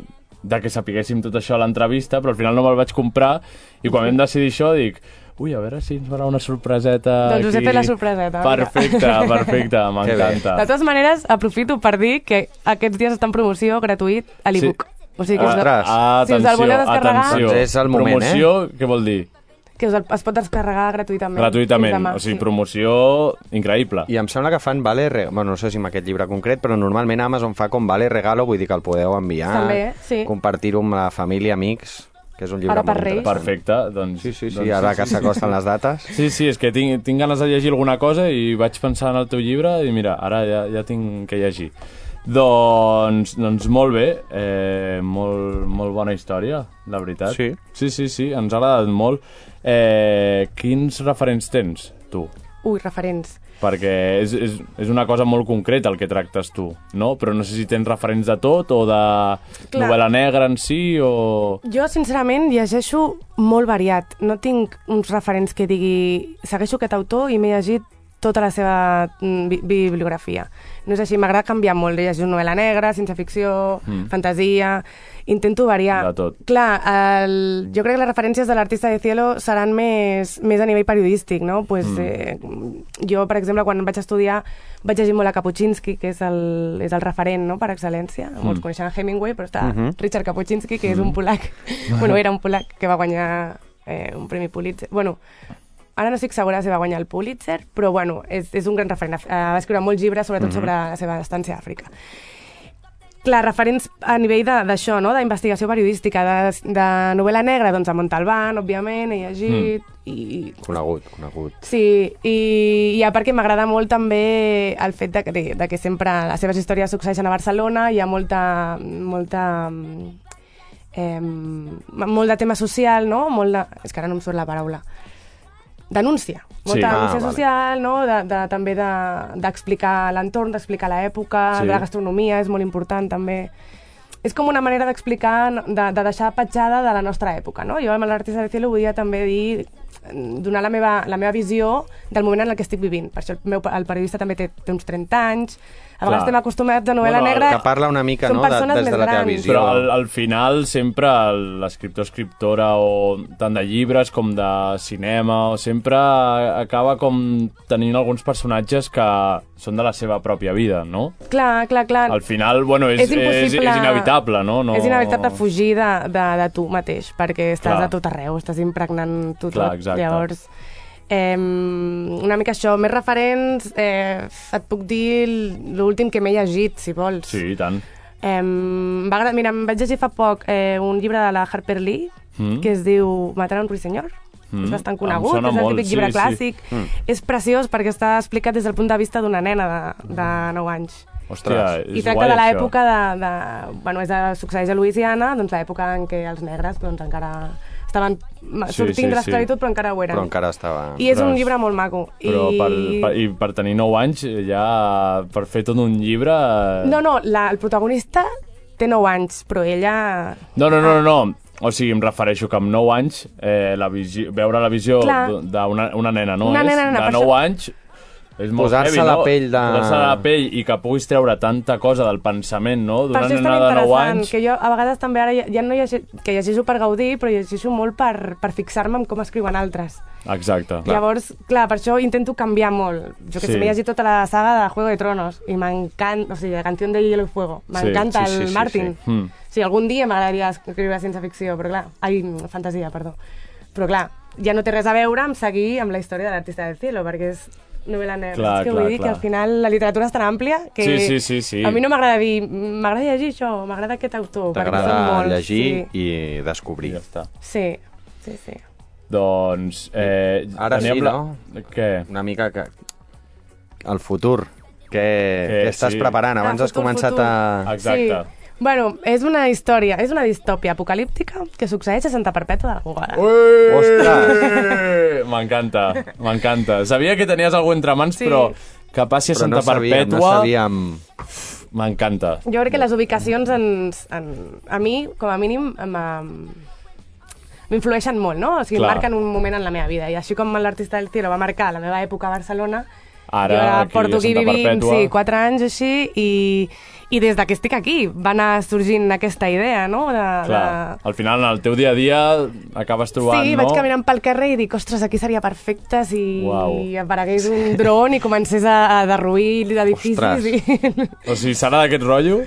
de que sapiguéssim tot això a l'entrevista, però al final no me'l vaig comprar i quan vam decidir això dic... Ui, a veure si ens farà una sorpreseta Doncs us he aquí." fet la sorpreseta, mira. Perfecte, perfecte, Que bé. m'encanta. De totes maneres, aprofito per dir que aquests dies està en promoció gratuït a l'ebook. Sí. O sigui que, us, Ostres. Ah, Si us el atenció, voleu descarregar- atenció. Doncs és el moment, promoció, què vol dir? que us el, es pot descarregar gratuïtament. Gratuïtament. Fins demà, O sigui, sí. promoció increïble. I em sembla que fan vale... Re... Bueno, no sé si amb aquest llibre concret, però normalment Amazon fa com vale regalo, vull dir que el podeu enviar, També, sí. compartir-ho amb la família, amics, que és un llibre Ara per molt Reis. interessant. Perfecte, doncs... Sí, sí, sí, doncs, ara que s'acosten les dates. Sí, sí, és que tinc, tinc ganes de llegir alguna cosa i vaig pensar en el teu llibre i mira, ara ja, ja tinc que llegir. Doncs, doncs molt bé, eh, molt, molt bona història, la veritat. Sí. Sí, sí, sí, ens ha agradat molt. Eh, quins referents tens, tu? Ui, referents. Perquè és, és, és una cosa molt concreta el que tractes tu, no? Però no sé si tens referents de tot o de Clar. novel·la negra en si o... Jo, sincerament, llegeixo molt variat. No tinc uns referents que digui... Segueixo aquest autor i m'he llegit tota la seva mm, bi bibliografia. No és així, m'agrada canviar molt. Llegeixo novel·la negra, ciència-ficció, mm. fantasia... Intento variar. De tot. Clar, el, jo crec que les referències de l'artista de Cielo seran més, més a nivell periodístic, no? Pues, mm. eh, jo, per exemple, quan vaig estudiar vaig llegir molt a Kapuscinski, que és el, és el referent no? per excel·lència. Mm. Molts coneixen a Hemingway, però està Richard Kapuscinski, que és un polac. bueno, era un polac que va guanyar eh, un premi Pulitzer. Bueno, ara no estic segura si va guanyar el Pulitzer, però bueno, és, és un gran referent. Eh, Va escriure molts llibres, sobretot sobre la seva estància a Àfrica. Clar, referents a nivell de- d'això, no? d'investigació periodística, de, de novel·la negra, doncs a Montalbán, òbviament, he llegit, mm. i Conegut, conegut. Sí, i, i a part que m'agrada molt també el fet de, que- de, de que sempre les seves històries succeeixen a Barcelona, hi ha molta... molta eh, molt de tema social, no? Molt de, és que ara no em surt la paraula. Denúncia. Molta Sí. Ah, denúncia vale. social, no? De, de, també de- d'explicar de, l'entorn, d'explicar l'època, Sí. sí. la gastronomia és molt important també. És com una manera d'explicar, no, de, de deixar petjada de la nostra època, no? Jo amb l'artista del cielo volia també dir mm, donar la meva, la meva visió del moment en el que estic vivint. Per això el, meu, el periodista també té, té uns 30 anys. A Clar. vegades estem acostumats a novel·la Bueno, el negra... que parla una mica, són no, de- persones des de més la teva grans. visió. Però al, al final sempre l'escriptor, escriptora, o tant de llibres com de cinema, o sempre acaba com tenint alguns personatges que són de la seva pròpia vida, no? Clar, clar, clar. Al final, bueno, és, és és, impossible... és inevitable, no? no... És inevitable fugir de, de, de tu mateix, perquè estàs Clar. a tot arreu, estàs impregnant tu Clar, tot. exacte. Llavors, eh, una mica això, més referents, eh, et puc dir l'últim que m'he llegit, si vols. Sí, i tant. Eh, va, mira, em vaig llegir fa poc eh, un llibre de la Harper Lee, Mm. mm. que es diu Matar un ruissenyor. Mm. Mm. És bastant Em conegut, sona és el molt, típic sí, llibre sí. clàssic. Mm. És preciós perquè està explicat des del punt de vista d'una nena de, de 9 anys. Ostres, I Ah, és tracta guai, de això. l'època de, de... Bueno, és de, succeeix a Louisiana, doncs l'època en què els negres doncs, encara estaven Sí, sí, sortint sí, de sí. l'esclavitud, però encara ho eren. però encara estava... I és un Ostres. llibre molt maco. Però I... per, per, i per tenir 9 anys, eh, ja per fer tot un llibre... eh, No, no, la, el protagonista té 9 anys, però ella... No, no, no, no. no. O sigui, em refereixo que amb 9 anys eh, la visió, veure la visió Clar. d- d'una una nena, no? Una és? nena, nena, de per 9 això- anys és molt Posar-se heavy, la no? pell de- Posar-se la pell i que puguis treure tanta cosa del pensament, no? Per D'una això és nena tan de 9 interessant, anys... que jo a vegades també ara ja, ja no llegeixo, que llegeixo per gaudir, però llegeixo molt per, per fixar-me en com escriuen altres. Exacte. Clar. Llavors, clar, per això intento canviar molt. Jo que Sí. sí. sé, m'he llegit tota la saga de Juego de Tronos i m'encanta, o sigui, la canció de Hielo y Fuego. M'encanta sí, sí, el sí, Martin. sí. Mm. Sí, algun dia m'agradaria escriure ciència ficció, però clar, ai, fantasia, perdó. Però clar, ja no té res a veure amb seguir amb la història de l'artista del cielo, perquè és novel·la negra. Clar, és que clar, vull dir clar. que al final la literatura és tan àmplia que Sí, sí, sí, sí. a mi no m'agrada dir m'agrada llegir això, m'agrada aquest autor. perquè T'agrada són molts, llegir Sí, i descobrir. Ja està. sí, sí. sí. Doncs... Eh, Ara teníem sí, la- no? Què? Una mica que... El futur. Què, Eh, què estàs sí. preparant? Abans Ah, has futur, començat futur. a... Exacte. Sí. Bueno, és una història, és una distòpia apocalíptica que succeeix a Santa Perpètua de la Gogora. Ostres! M'encanta, m'encanta. Sabia que tenies algú entre mans, Sí. però que passi a Però Santa no sabíem, no Perpètua... sabíem... M'encanta. Jo crec que les ubicacions ens, en, a mi, com a mínim, em, em, m'influeixen molt, no? O sigui, Clar. Clar. marquen un moment en la meva vida. I així com l'artista del tiro va marcar la meva època a Barcelona, Ara, jo aquí a porto aquí Santa vivint Perpètua. sí, quatre anys o així i, i des de que estic aquí va anar sorgint aquesta idea, no? De, Clar, de... al final, en el teu dia a dia, acabes trobant, Sí, no? vaig caminant pel carrer i dic, ostres, aquí seria perfecte si Uau. aparegués un dron i comencés a, a derruir Ostres. l'edifici. I... O sigui, serà d'aquest rotllo?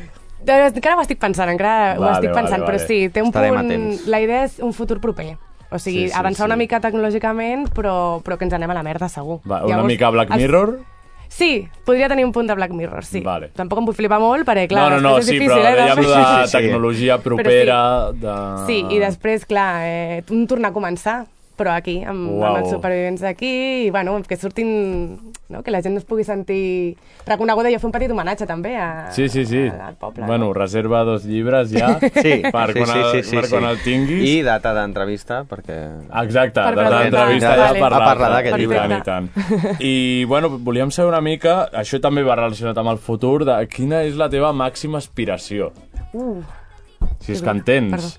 encara ho estic pensant, encara ho Vale, estic vale, pensant, vale. però sí, té un Estarem punt... atents. La idea és un futur proper. O sigui, Sí, sí, avançar sí. una mica tecnològicament, però, però que ens anem a la merda, segur. Va, una mica Black els- Mirror? Sí, podria tenir un punt de Black Mirror, sí. Vale. Tampoc em vull flipar molt, perquè, clar, no, no, no, després és sí, difícil, però eh? dèiem de de- Sí, sí, sí. tecnologia Però sí. propera... De... Sí, i Ah. després, clar, eh, un tornar a començar, però aquí, amb, Uau. amb els supervivents d'aquí, i bueno, que surtin... No? que la gent es pugui sentir reconeguda. Jo fer un petit homenatge també a, Sí, sí, sí. a- al poble. bueno, no? reserva dos llibres ja Sí, per sí, quan, sí, sí, el, sí, per quan sí. el tinguis. I data d'entrevista, perquè... Ah, Exacte, Per de presentar. l'entrevista ja Vale. parlar. A parlar d'aquest I llibre. tant, I tant, I, bueno, volíem saber una mica, això també va relacionat amb el futur, de quina és la teva màxima aspiració? Uh. Si és Sí, que en tens, perdó.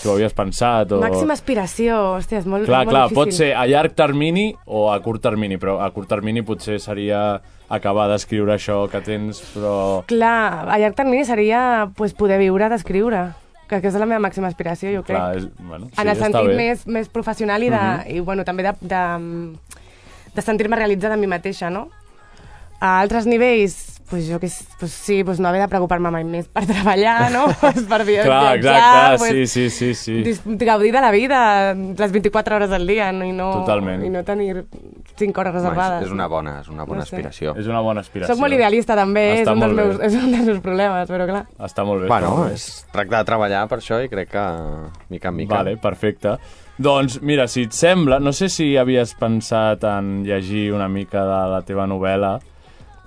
si ho havies pensat o... Màxima aspiració, hòstia, és molt, Clar, molt clar, difícil. pot ser a llarg termini o a curt termini, però a curt termini potser seria acabar d'escriure això que tens, però... Clar, a llarg termini seria pues, poder viure d'escriure, que, que és la meva màxima aspiració, jo crec. Clar, és, bueno, sí, en el està sentit bé. Mhm. més, més professional i, de, i bueno, també de, de, de sentir-me realitzada a mi mateixa, no? A altres nivells, pues jo que s- pues sí, pues no haver de preocupar-me mai més per treballar, no? Pues per viatjar, Clar, exacte, pues, sí, sí, sí, sí. dis- Gaudir de la vida les 24 hores del dia no? I, no, Totalment. i no tenir 5 hores Home, reservades. és- és una bona, és una bona No sé. aspiració. És una bona aspiració. Soc molt idealista també, doncs. és Està un, dels molt meus, bé. és un dels meus problemes, però clar. Està molt bé. Bueno, està molt bé. es tracta de treballar per això i crec que mica en mica. Vale, perfecte. Doncs mira, si et sembla, no sé si havies pensat en llegir una mica de la teva novel·la.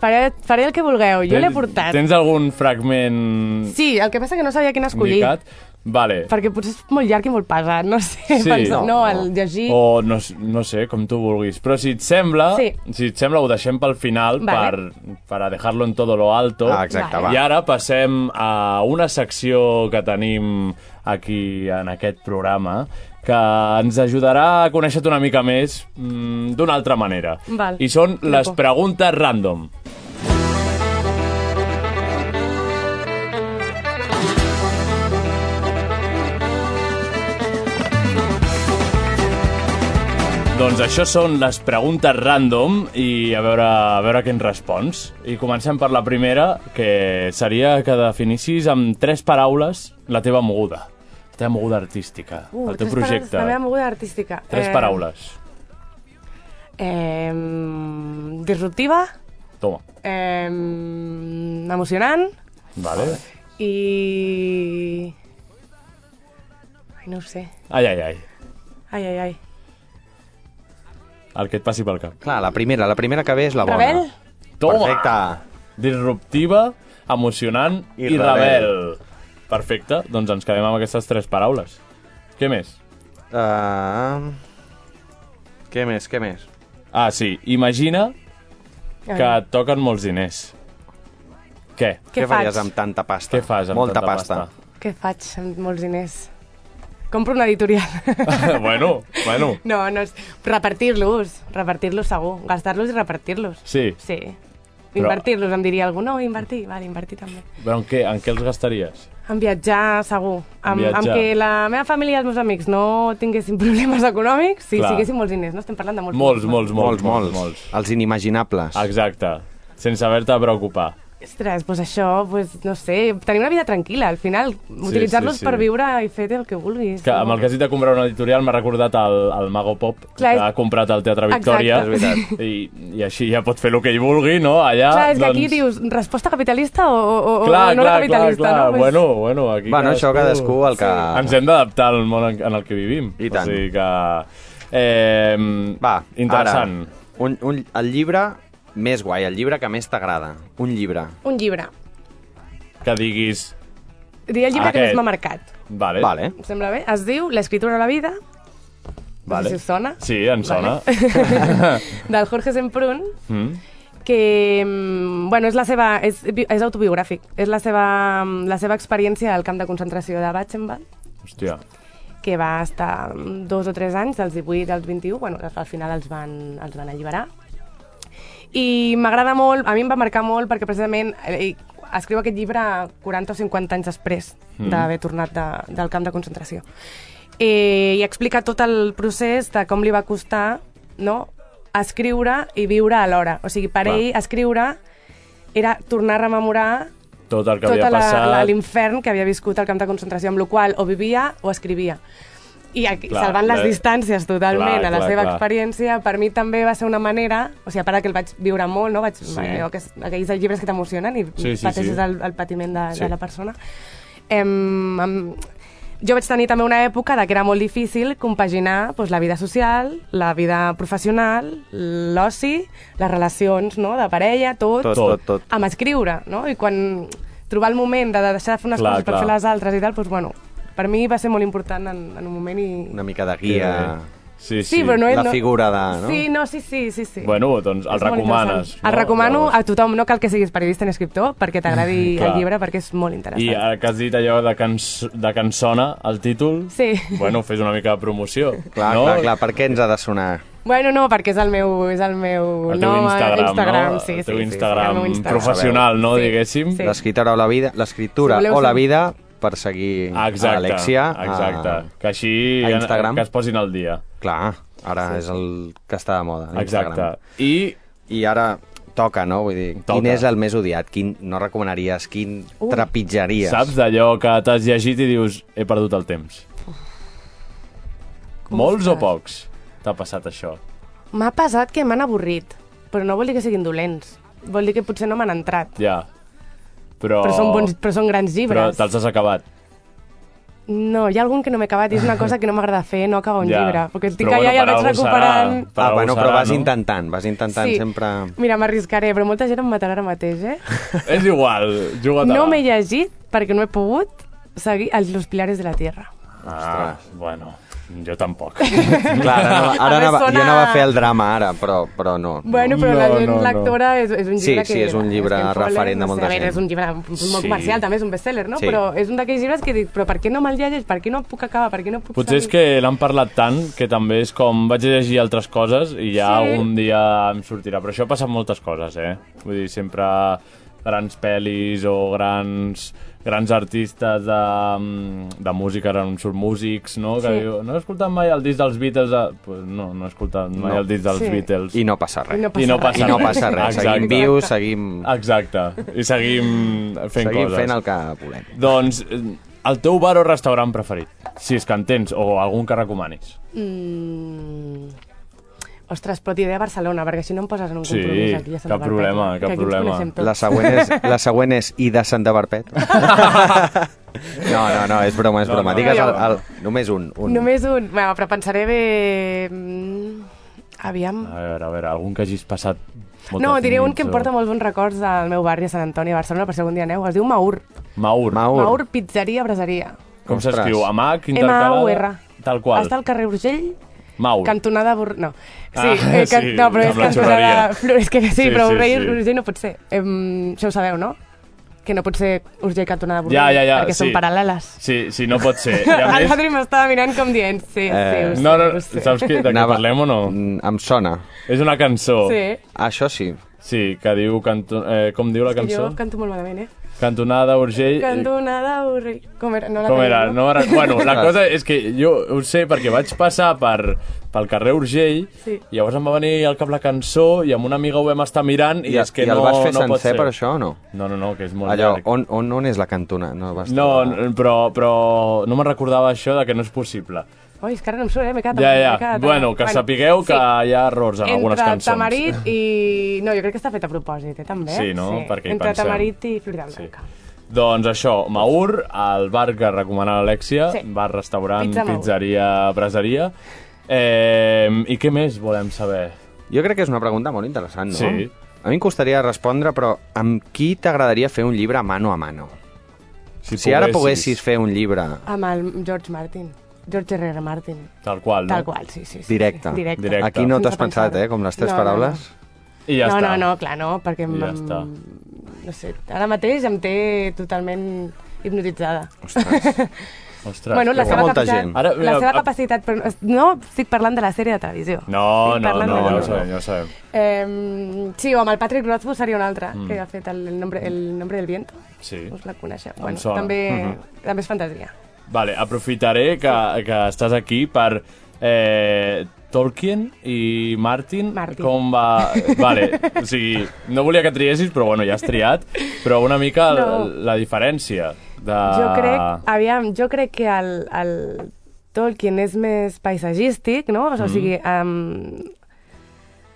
Faré, faré el que vulgueu, jo l'he Tens- portat. Tens algun fragment Sí, el que passa que no sabia quin escollir, indicat? Vale. perquè potser és molt llarg i molt pesat, no sé, Sí. penso, No. no, el llegir... O no, s- no sé, com tu vulguis. Però si et sembla, Sí. si et sembla ho deixem pel final Vale. per, para dejarlo en todo lo alto. Ah, exacte, Vale. va. I ara passem a una secció que tenim aquí en aquest programa que ens ajudarà a conèixer-te una mica més mm, d'una altra manera. Val. I són Quina les por. preguntes random. Doncs això són les preguntes random i a veure, a veure què ens respons. I comencem per la primera, que seria que definissis amb tres paraules la teva moguda. La teva moguda artística, Uh, el teu tres paraules, projecte. La meva eh. moguda artística. Tres paraules. Eh, disruptiva, Toma. eh, emocionant Vale. i... Ai, no ho sé. Ai, ai, ai. Ai, ai, ai. El que et passi pel cap. Clar, la primera, la primera que ve és la bona. Rebel? Toma! Perfecte. Disruptiva, emocionant i, I rebel. Perfecte, doncs ens quedem amb aquestes tres paraules. Què més? Uh, què més, què més? Ah, sí. Imagina que et toquen molts diners. Què? Què, què faries faig? amb tanta pasta? Què fas amb Molta tanta pasta. Què faig amb molts diners? Compro una editorial. pasta? bueno, bueno. no, no, és- repartir-los, repartir-los segur, gastar-los i repartir-los. Sí. Sí. Però- Invertir-los, em diria algú. No, invertir, vale, invertir també. Però en què, en què els gastaries? En viatjar, segur. Amb, viatjar. amb que la meva família i els meus amics no tinguessin problemes econòmics, si Clar. siguessin molts diners, no? Estem parlant de molts. Molts, molts, molts, molts, molts. molts. Els inimaginables. Exacte. Sense haver-te de preocupar. Ostres, doncs això, doncs, no sé, tenir una vida tranquil·la, al final, utilitzar-los sí. per viure i fer el que vulguis. Que amb el que has dit de comprar una editorial m'ha recordat el, el Mago Pop, Clar, que ha és- comprat al Teatre Victòria. Exacte. És veritat. I, I així ja pot fer el que ell vulgui, no? Allà, Clar, és que doncs... aquí dius, resposta capitalista o, o, o Clar, no clar, clar, capitalista, clar. no? Pues- Bueno, bueno, aquí Bueno, això cadascú el que... Ens hem d'adaptar al món en, en el que vivim. I O tant. sigui que... Eh, Va, interessant. Ara, un, un, el llibre més guai, el llibre que més t'agrada. Un llibre. Un llibre. Que diguis... Diria el llibre que Aquest. més m'ha marcat. Vale. Vale. Em sembla bé? Es diu L'escriptura a la vida, vale. no sé si us sona, Sí, em sona. del Jorge Semprún, Mm. que, mm, bueno, és la seva... És, bi- és autobiogràfic. És la seva, mm, la seva experiència al camp de concentració de Batchenwald, Hòstia. que va estar mm, dos o tres anys, dels 18 als 21, bueno, al final els van, els van alliberar. I m'agrada molt, a mi em va marcar molt, perquè precisament eh, escriu aquest llibre 40 o 50 anys després d'haver tornat de, del camp de concentració. Eh, I explica tot el procés de com li va costar no, escriure i viure alhora. O sigui, per Clar. ell, escriure era tornar a rememorar Tot el que tot havia passat... Tota l'infern que havia viscut al camp de concentració, amb la qual o vivia o escrivia. I aquí, Clar, clar, salvant les eh, distàncies totalment clar, clar, a la clar, clar, seva clar. experiència, per mi també va ser una manera, o sigui, a part de que el vaig viure molt, no? vaig, Sí. sí. allò, que, aquells llibres que t'emocionen i Sí, sí, sí, sí, pateixes sí. sí. El, el patiment de, Sí. sí. de la persona. Em, em, jo vaig tenir també una època de que era molt difícil compaginar doncs, la vida social, la vida professional, l'oci, les relacions no? de parella, tot, Tot, tot, tot. amb escriure, no? I quan trobar el moment de deixar de fer unes Clar, clar, coses per clar. fer les altres i tal, doncs, bueno, per mi va ser molt important en, en un moment i... Una mica de guia. Sí, sí. Sí, però no és... La no... figura de... No? Sí, no, sí, sí, sí, sí. Bueno, doncs el És molt recomanes. interessant. El recomano Llavors. Mm, a tothom, no cal que siguis periodista ni escriptor, perquè t'agradi Clar. el llibre, perquè és molt I eh, interessant. ara que has dit allò de, canç de cançona, el títol... Sí. Bueno, fes una mica de promoció. Clar, no? clar, clar, per què ens ha de sonar? Bueno, no, perquè és el meu, és el meu El teu nom a Instagram, Instagram no? sí, el teu sí, sí, Instagram, el meu Instagram. professional, no, diguéssim? Sí. L'escriptora o la vida, l'escriptura Si voleu o la saber. vida per seguir a Ah, Exacte, l'Alexia. a- exacte. que així Ah, a Instagram. que es posin al dia. Clar, ara és el que està de moda, l'Instagram. Exacte. I I ara toca, no? Vull dir, Toca. quin és el més odiat? Quin no recomanaries? Quin uh. trepitjaries? saps d'allò que t'has llegit i dius he perdut el temps? Molts o pocs t'ha passat això? M'ha passat que m'han avorrit, però no vol dir que siguin dolents. Vol dir que potser no m'han entrat. Ja. Però, Però són, bons, però són grans però llibres. te'ls has acabat. No, hi ha algun que no m'he acabat i és una cosa que no m'agrada fer, no acabar un Ja. llibre. Perquè el tinc Però, allà bueno, i el per vaig algú serà. recuperant... Per ah, algú bueno, però serà, vas no? intentant, vas intentant sempre... Mira, m'arriscaré, però molta gent em matarà ara mateix, eh? És igual, juga No m'he llegit perquè no he pogut seguir els Los Pilares de la Tierra. Ah, bueno, jo tampoc. Clar, ara, anava, ara A més, anava, sona- jo anava a fer el drama ara, però, però no. Bueno, però No, la gent no, no. lectora és, és un Sí, llibre que... sí, és un llibre que em fole, referent de no sé, molta a veure, gent. és un llibre molt Sí. comercial, també és un best-seller, no? Sí. Però és un d'aquells llibres que dic, però per què no me'l llegeix? Per què no puc acabar? Per què no puc Potser és seguir? que l'han parlat tant que també és com vaig a llegir altres coses i ja Sí. sí. un dia em sortirà. Però això passa amb moltes coses, eh? Vull dir, sempre grans pel·lis o grans, grans artistes de, mm, de música, ara em surt músics, no? Que Sí. diu, no he escoltat mai el disc dels Beatles. A... Pues no, no he escoltat mai No. el disc dels Sí. Beatles. I no passa res. I no I no I passa no res. passa res. Seguim Exacte. vius, seguim, Exacte. I seguim fent seguim coses. fent el que volem. Doncs eh, el teu bar o restaurant preferit, si és que en tens, o algun que recomanis. Mm. Ostres, però t'hi diré a Barcelona, perquè així no em poses en un Sí, compromís aquí a Santa cap Barbeta, problema, cap que aquí ens problema. coneixem tots. La següent és, la següent és i de Santa Barpet. No, no, no, és broma, és No, broma. no. Digues el, el, només un. un. Només un... Bueno, però pensaré bé... mm, Aviam... A veure, a veure, algun que hagis passat moltes No, diré un nits que em porta molts bons records del meu barri a Sant Antoni, a Barcelona, per si algun dia aneu. Es diu Maur. Maur. Maur. Maur, pizzeria, braseria. Com Ostres. s'escriu? Amac, intercalada? M-A-U-R. Tal qual. Està al carrer Urgell, Maur. cantonada... Bur... No. Sí, Ah, eh, can... sí, no, però és amb la cantonada... xurreria. Flo- És que sí, Sí, però sí, Urgell, sí. Urgell no pot ser. Em... Això ho sabeu, no? Que no pot ser Urgell cantonada Burgell, Ja, ja, ja, perquè sí. són paral·leles. Sí, sí, no pot ser. I a A més... l'Adri m'estava mirant com dient, sí, sí, Eh, ho sé, No, no, ho sé. saps que, de què Anava- parlem o no? Mm, Em sona. És una cançó. Sí, Això sí. Sí, que diu... Canto... Eh, com diu la que jo cançó? canto molt malament, eh? Cantonada Urgell... Cantonada Urgell... Com era? No la Com teniu, era? No, No? ara- bueno, la cosa és que jo ho sé perquè vaig passar per, pel carrer Urgell Sí. i llavors em va venir al cap la cançó i amb una amiga ho vam estar mirant i, I, és que i no, el vas fer no pot sencer ser. per això o no? No, no, no, que és molt Allò, llarg. on, on, on és la cantona? No, vas No, trobar. n- però, però no me'n recordava això de que no és possible. Oi, és que ara no em surt, eh? M'he quedat... Ja, amb- m'he ja. quedat- Bueno, que sapigueu que hi ha errors en Entre algunes cançons. Tamarit i... No, jo crec que està fet a propòsit, eh, també. Sí, no? Perquè hi Entre pensem. Tamarit i Florida Blanca. Doncs això, Maur, el bar que recomana l'Alexia, Sí. bar, restaurant, Pizza Maur. pizzeria, braseria. Eh, I què més volem saber? Jo crec que és una pregunta molt interessant, no? Sí. A mi em costaria respondre, però amb qui t'agradaria fer un llibre mano a mano? Si ara poguessis fer un llibre... Amb el George Martin. George R.R. Martin. Tal qual, no? Tal qual, sí, sí. sí Directe. Sí, directe. Directe. Aquí no Sense t'has pensat, pensar-ho. eh? Com les tres No, no, paraules. I ja no, està. no, no, clar, no, perquè... I ja em- està. No sé, ara mateix em té totalment hipnotitzada. Ostres, bueno, la que guai. seva, Molta capacitat, gent. Ara, la mira, seva a- capacitat... Però no estic parlant de la sèrie de televisió. guai. No, no, Estic no, parlant no, de ja ho la- sabem, ja ho sabem. Eh, sí, o amb el Patrick Rothfuss seria un altre, mm. que ha fet el, el, nombre, el nombre del viento. Sí. Us la coneixeu. Bueno, sona. Mm-hmm. també, també és fantasia. Vale, aprofitaré que, que estàs aquí per... Eh, Tolkien i Martin, Martin. com va... Vale, o sigui, no volia que triessis, però bueno, ja has triat, però una mica no. No. la, la diferència de... Jo crec, aviam, jo crec que el, el Tolkien és més paisatgístic, no? O sigui, Mm-hmm. um,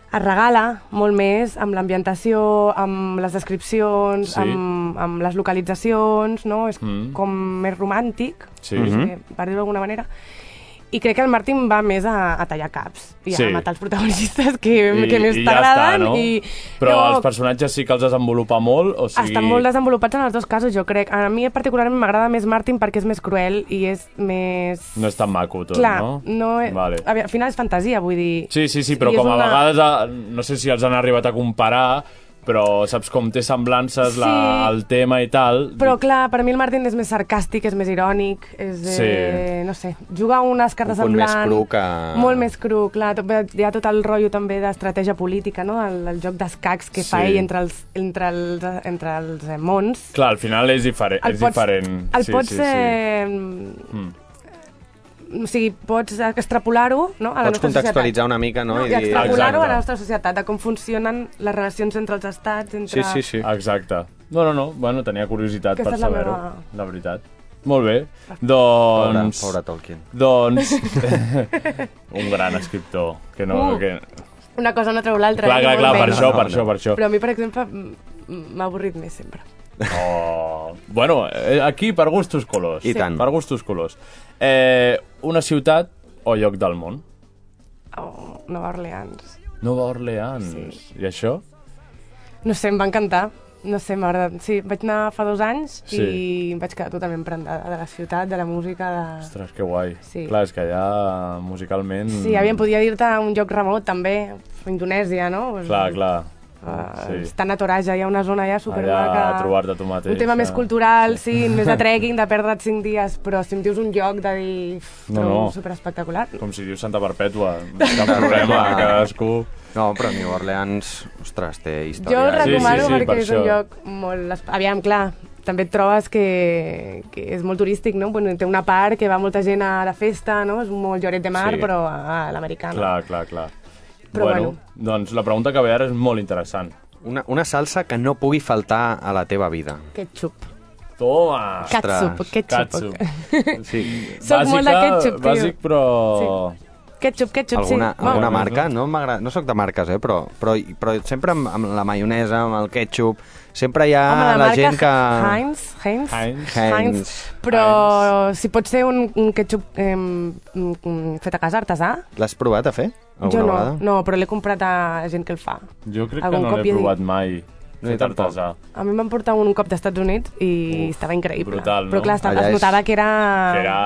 es regala molt més amb l'ambientació, amb les descripcions, Sí. Mm-hmm. amb, amb les localitzacions, no? És com més romàntic, Sí. Mm-hmm. no sé, per dir-ho d'alguna manera. I crec que el Martin va més a, a tallar caps i Sí. a matar els protagonistes que, I, que més i t'agraden. ja està, no? i... Però no, els personatges sí que els desenvolupa molt, o sigui... Estan molt desenvolupats en els dos casos, jo crec. A mi particularment m'agrada més Martin perquè és més cruel i és més... No és tan maco tot, Clar, no? no... Vale. A veure, al final és fantasia, vull dir... Sí, sí, sí, però I és com a una- vegades, eh, no sé si els han arribat a comparar, però saps com té semblances Sí. la, el tema i tal. Però clar, per mi el Martin és més sarcàstic, és més irònic, és, Sí. eh, no sé, juga unes cartes punt en més blanc. cru que- Molt més cru, clar. Tot, bé, hi ha tot el rotllo també d'estratègia política, no? El, el joc d'escacs que fa Sí. ell entre els, entre els, entre els eh, mons. Clar, al final és diferent. El és pots- diferent. El sí, pots... sí, Hmm. sí. Eh, O sigui, pots extrapolar-ho no? a la Pots nostra societat. contextualitzar una mica, no? No, I I dir- extrapolar-ho a Exacte. la nostra societat, de com funcionen les relacions entre els estats, entre... Sí, sí, sí. Exacte. No, no, no, bueno, tenia curiositat Aquesta per és la saber-ho, meva- la veritat. Molt bé, Pobre, doncs... pobre Tolkien. Doncs... un gran escriptor, que no... Uh, que... Una cosa no treu l'altra. Clar, ni clar, molt clar, per menys. això, per no. això, per això. Però a mi, per exemple, m- m- m'ha avorrit més sempre. Oh. Bueno, eh, aquí per gustos colors. I Sí. tant. Per gustos colors. Eh, una ciutat o lloc del món? Oh, Nova Orleans. Nova Orleans. Sí. I això? No sé, em va encantar. No sé, m'ha agradat. Sí, vaig anar fa dos anys Sí. i em vaig quedar totalment prendada de la ciutat, de la música, de... Ostres, que guai. Sí. Clar, és que allà musicalment... Sí, aviam, podia dir-te un joc remot, també, Indonèsia, no? Pues, Clar, clar. Uh, Ah, Sí. sí. Estan a Toraja, hi ha una zona ja supermaca. Allà a trobar-te tu mateix, Un tema eh? més cultural, sí, més de trekking, de perdre't 5 dies, però si em dius un lloc de dir... "Uf, No, trobo no. superespectacular. Com si dius Santa Perpètua. Cap problema, cadascú... No, però New Orleans, ostres, té història. Jo el sí, recomano sí, per perquè és això. un lloc molt... es- Aviam, clar, també et trobes que, que és molt turístic, no? Bueno, té una part que va molta gent a la festa, no? És molt lloret de mar, Sí. sí. però a, a l'americana. Clar, clar, clar. Però bueno, bueno. doncs la pregunta que ve ara és molt interessant. Una, una salsa que no pugui faltar a la teva vida. Ketchup. Toma! Catsup, ketchup. Katsu. Sí. Soc molt de ketchup, tio. Bàsic, però... Sí. Ketchup, ketchup, Alguna, sí. alguna Bueno, marca? No, m'agrada- no sóc de marques, eh, però, però, però sempre amb, amb la maionesa, amb el ketchup, sempre hi ha Home, Ah, la, gent que... Heinz, Heinz, Heinz. Heinz. Però si pot ser un, un ketchup eh, mm, fet a casa artesà, L'has provat a fer? Alguna jo no, vegada? no, però l'he comprat a gent que el fa. Jo crec Algun que no cop l'he hi he provat mai. No, fet jo tampoc. artesà. A mi em van portar un cop d'Estats Units i estava increïble. brutal, no? Però clar, estava, Allà es és- notava que era... Que era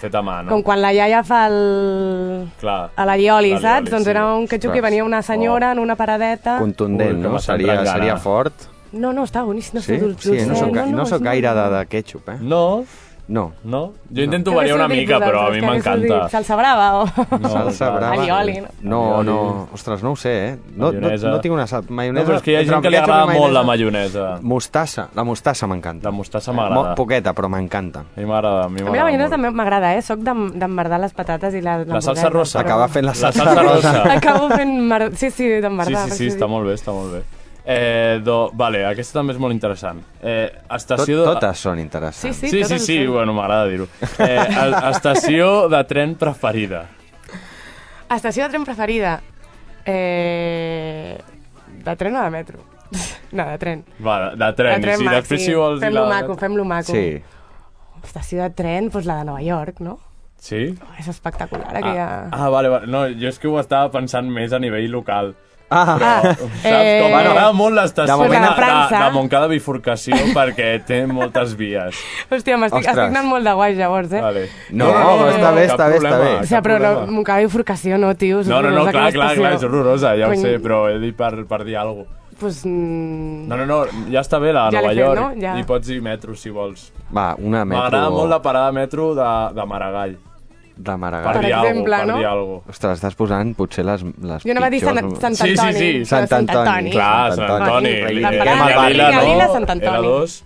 fet a mà, no? Com quan la iaia fa el... Clar. a la lioli, La saps? lioli, doncs sí. era un ketchup Ostres. Oh. que venia una senyora en una paradeta... Contundent, Ui, que no? m'estan Seria, trencant, seria ara. fort. No, no, estava boníssim. No Sí, sé, dulce, sí eh? no, soc, ga- no soc és gaire de, molt de ketchup, eh? No, No. no. Jo intento Què variar una haguéssiu dit mica, però a mi vosaltres? Què haguéssiu dit? m'encanta. Salsa brava o...? No, Salsa clar. brava. Alioli, no? No, Alioli. no, ostres, no ho sé, eh? No, no, Maionesa. no tinc una sal... No, maionesa... però és que hi ha entre gent que li ketchup i agrada molt la maionesa. Mostassa, la mostassa m'encanta. La mostassa Eh, Molt m'agrada. Poqueta, però m'encanta. A mi m'agrada, a mi A mi la m'agrada mayonesa molt. també m'agrada, eh? Soc d'em- d'emmerdar les patates i la... La salsa rosa. Acabar fent la La salsa, salsa rosa. Acabo fent... Mar... Sí, sí, Sí, d'emmerdar. sí, sí, està molt bé, està molt bé. Eh, do, vale, aquesta també és molt interessant. Eh, Tot, estació de... totes són Sí, interessants. sí, Sí, sí, totes sí, les- bueno, m'agrada dir-ho. Eh, a- estació de tren preferida. Estació de tren preferida? Eh... De tren o de metro? No, de tren. Va, de, de tren. de tren I si Max, després sí. si vols... dir Fem-lo la- maco, fem-lo maco. Sí. Estació de tren, doncs la de Nova York, no? Sí? És espectacular, aquella... Ah, ah, vale, vale. No, jo és que ho estava pensant més a nivell local. Ah, Ah, Saps? Eh... Com m'agrada molt l'estació de de, moment- Pues la de de, França. de Montcada Bifurcació perquè té moltes vies. Hòstia, m'estic Ostres. estic anant molt de guai, llavors, eh? Vale. No, no, està bé, cap està bé, està problema, bé. cap O sigui, però no, problema. m'ho acaba bifurcació, no, tio? és No, no, no, horrorosa clar, aquella clar, clar, és estació. horrorosa, ja ho Cony, sé, però he dit per, per dir alguna cosa. Pues, mm, No, no, no, ja està bé la Ja Nova l'he fet, York. no? Ja. I pots dir metro, si vols. va, una metro... M'agrada molt la parada metro de, de Maragall. De Per, Maragall. dir exemple, alguna cosa, no? per dir alguna cosa. Ostres, estàs posant potser les, les Jo anava a dir Sant, pitjors. Sant Sí, sí, Antoni. sí. però Sant Antoni. Clar, Sant Antoni. Antoni, li- la li- parada li- de Lila, no? Maragall a Sant Antoni. Era dos.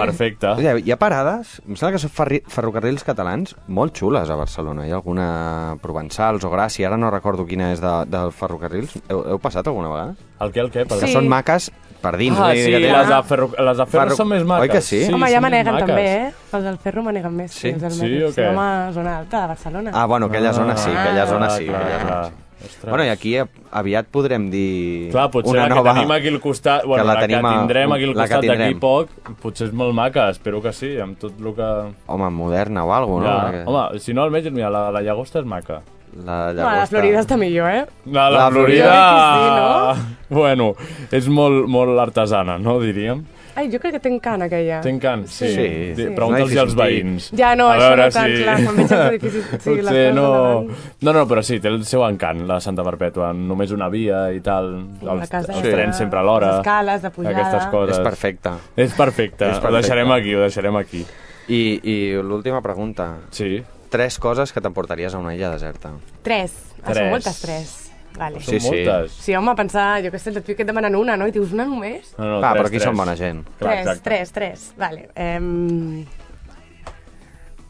Perfecte. Hi ha, hi ha parades, em sembla que són ferri- ferrocarrils catalans, molt xules a Barcelona. Hi ha alguna a Provençals o Gràcia, ara no recordo quina és de, de ferrocarrils. Heu, heu passat alguna vegada? El què, el què? Que Perdó. Sí. són maques per dins. Ah, vull dir sí, que tenen- les de ferro, les de ferro Ferro- són més Oi maques. que sí? Home, ja són més maneguen maques. també, eh? Els del ferro maneguen més. Sí? els del Sí, metro. o què? home, zona alta de Barcelona. Ah, bueno, aquella zona sí, aquella zona sí. Ah, Clar, aquella zona clar. sí. Ostres. Bueno, i aquí a- aviat podrem dir Clar, potser la una nova... que tenim aquí al costat, bueno, la la, que tenim a- tindrem aquí al la que costat d'aquí tindrem. poc, potser és molt maca, espero que sí, amb tot el que... Home, moderna o alguna ja. cosa, no? Perquè Home, si no almenys, mira, la, la llagosta és maca. La no, llagosta... la Florida està millor, eh? La, la, La Florida... Florida Sí, no? Bueno, és molt, molt artesana, no, diríem? Ai, jo crec que té encant, aquella. Ten can, sí. Sí, Di- sí. Pregunta'ls No, als sí. veïns. Ja no, A això veure no tant, si... clar, quan veig els edificis, sí, les Potser coses no... davant. No, no, però sí, té el seu encant, la Santa Perpètua, només una via i tal, La els, casa els de- trens sempre a l'hora, les escales de pujada. aquestes coses. És perfecta. És perfecte, És ho perfecte. deixarem aquí, ho deixarem aquí. I, i l'última pregunta. Sí. Tres coses que t'emportaries a una illa deserta. Tres. Ah, Tres. són moltes tres. Vale. Sí, Són sí. moltes. Sí, home, pensar, jo què sé, et diu que et demanen una, no? I dius, una només? No, no, Va, tres, però aquí tres. són eh. bona gent. Clar, tres, exacte. tres, tres. Vale. Um,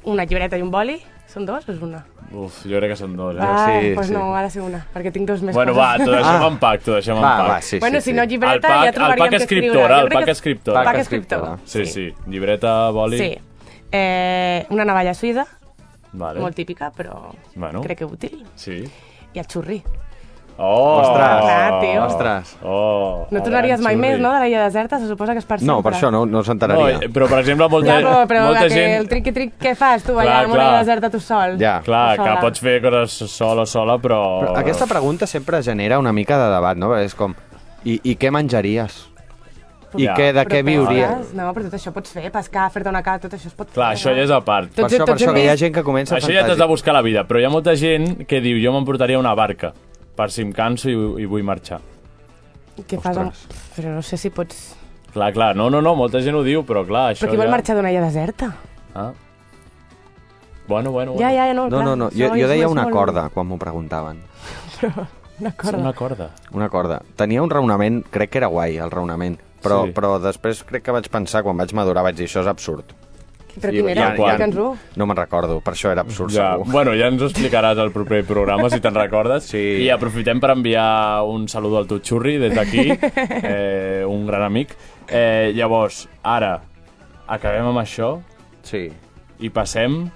una llibreta i un boli? Són dos o és una? Uf, jo crec que són dos, eh? ah, sí, doncs sí. no, ha de ser una, perquè tinc dos més bueno, va, coses. t'ho deixem Ah. en pac, t'ho deixem en Va, pac. va, sí, bueno, sí, si sí. no llibreta, El pack- ja trobaríem el pack que escriure. escriptora, Jo el crec pack que- escriptora. Pack Pack escriptora. Sí, sí, llibreta, boli... Sí. Eh, una navalla suïda, Vale. molt típica, però Bueno. crec que útil. Sí. I el xurri. Oh! Ostres. Clar, Ah, tio. Ostres. Oh! No tornaries mai més, no?, de la illa deserta, se suposa que és per sempre. No, per això no, no No, s'enteraria. eh, però, per exemple, molta, Ja, però, però molta que gent... el triqui-triqui, què fas tu Clar, allà en una clar. illa deserta tu sol? Ja. Clar, que Sola. pots fer coses sola, sola, però... Ah. Però aquesta pregunta sempre genera una mica de debat, no? Perquè és com, i, i què menjaries? I Ja. què, de Però què viuries? pesques? No, però tot això pots fer, pescar, fer-te una casa, tot això es pot Clar, fer. això ja és a part. Per Tots- això, per tots hem això que hi ha vist- gent que comença a Això ja t'has de fantasiar. buscar la vida, però hi ha molta gent que diu jo m'emportaria una barca per si em canso i, i vull marxar. Què fas amb... Ostres. Però no sé si pots... Clar, clar, no, no, no, molta gent ho diu, però clar, això Però qui vol ja... marxar d'una illa deserta? Ah. Bueno, bueno, bueno. Ja, ja, ja, no, No, clar, no, no, jo, això jo és- deia és una molt- corda quan m'ho preguntaven. Una És corda. una corda. Una corda. Tenia un raonament, crec que era guai, el raonament. Però, Sí. sí. però després crec que vaig pensar, quan vaig madurar, vaig dir, això és absurd. Però quin I- era? ja, Ja, ja. ja. Cançó? No me'n recordo, per això era absurd Ja, segur. bueno, ja ens ho explicaràs al proper programa, si te'n recordes. Sí. I aprofitem per enviar un saludo al Tutxurri des d'aquí, eh, un gran amic. Eh, llavors, ara, acabem amb això Sí. i passem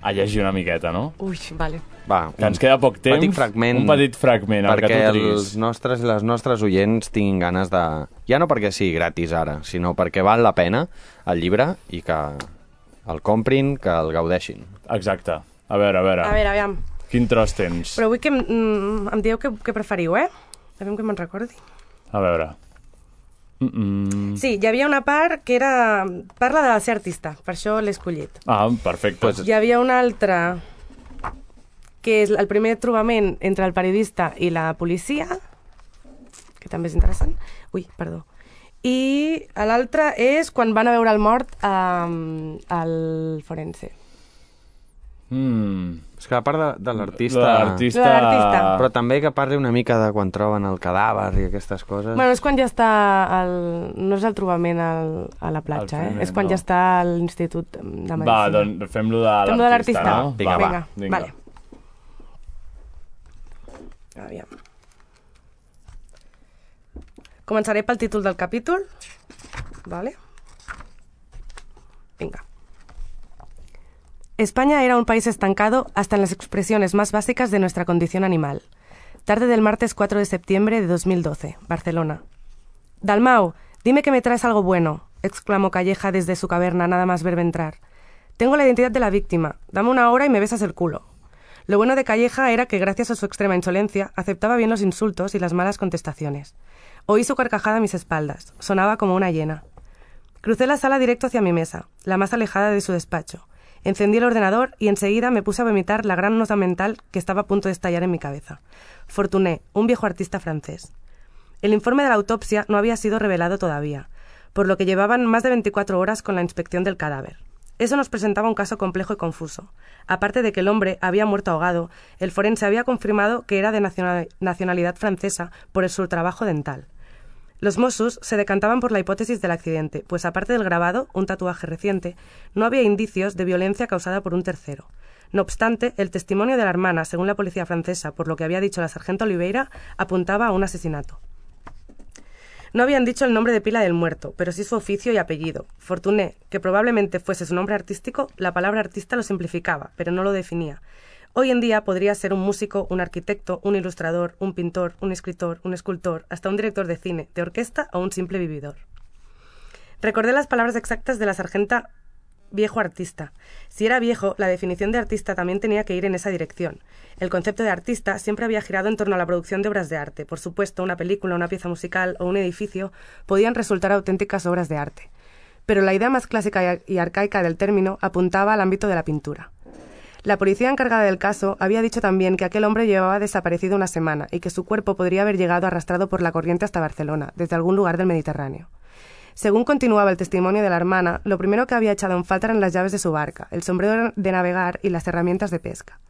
a llegir una miqueta, no? Ui, vale. Va, Que ens queda poc temps. Petit fragment, Un petit fragment, el que perquè tu triguis. els nostres i les nostres oients tinguin ganes de... Ja no perquè sigui gratis ara, sinó perquè val la pena el llibre i que el comprin, que el gaudeixin. Exacte. A veure, a veure, A veure, aviam. Quin tros tens? Però vull que em, mm, em dieu què, què preferiu, eh? Aviam que me'n recordi. A veure. Mm, mm. Sí, hi havia una part que era... Parla de ser artista, per això l'he escollit. Ah, perfecte. Pues, Hi havia una altra que és el primer trobament entre el periodista i la policia, que també és interessant. Ui, perdó. I l'altra és quan van a veure el mort um, al forense. mm, És que la part de, de l'artista... l'artista... L'artista. Però també que parli una mica de quan troben el cadàver i aquestes Ah. coses. Bueno, és quan ja està... El, no és el trobament al, a la platja, trobament, eh? És quan no. ja està a l'Institut de mm, Medicina. Va, doncs fem-lo de l'artista, Fem-lo de l'artista. No? Vinga, va. Vinga, vale. Aviam. Començaré pel títol del capítol. Vale. Vinga. España era un país estancado hasta en las expresiones más básicas de nuestra condición animal. Tarde del martes 4 de septiembre de 2012, Barcelona. Dalmau, dime que me traes algo bueno, exclamó Calleja desde su caverna nada más verme entrar. Tengo la identidad de la víctima. Dame una hora y me besas el culo. Lo bueno de Calleja era que, gracias a su extrema insolencia, aceptaba bien los insultos y las malas contestaciones. Oí su carcajada a mis espaldas. Sonaba como una hiena. Crucé la sala directo hacia mi mesa, la más alejada de su despacho. Encendí el ordenador y enseguida me puse a vomitar la gran nota mental que estaba a punto de estallar en mi cabeza. Fortuné, un viejo artista francés. El informe de la autopsia no había sido revelado todavía, por lo que llevaban más de 24 horas con la inspección del cadáver. Eso nos presentaba un caso complejo y confuso. Aparte de que el hombre había muerto ahogado, el forense había confirmado que era de nacional- nacionalidad francesa por su trabajo dental. Los Mossos se decantaban por la hipótesis del accidente, pues aparte del grabado, un tatuaje reciente, no había indicios de violencia causada por un tercero. No obstante, el testimonio de la hermana, según la policía francesa, por lo que había dicho la sargento Oliveira, apuntaba a un asesinato. No habían dicho el nombre de pila del muerto, pero sí su oficio y apellido. Fortuné, que probablemente fuese su nombre artístico, la palabra artista lo simplificaba, pero no lo definía. Hoy en día podría ser un músico, un arquitecto, un ilustrador, un pintor, un escritor, un escultor, hasta un director de cine, de orquesta o un simple vividor. Recordé las palabras exactas de la sargenta viejo artista. Si era viejo, la definición de artista también tenía que ir en esa dirección. El concepto de artista siempre había girado en torno a la producción de obras de arte. Por supuesto, una película, una pieza musical o un edificio podían resultar auténticas obras de arte. Pero la idea más clásica y ar- y arcaica del término apuntaba al ámbito de la pintura. La policía encargada del caso había dicho también que aquel hombre llevaba desaparecido una semana y que su cuerpo podría haber llegado arrastrado por la corriente hasta Barcelona, desde algún lugar del Mediterráneo. Según continuaba el testimonio de la hermana, lo primero que había echado en falta eran las llaves de su barca, el sombrero de navegar y las herramientas de pesca.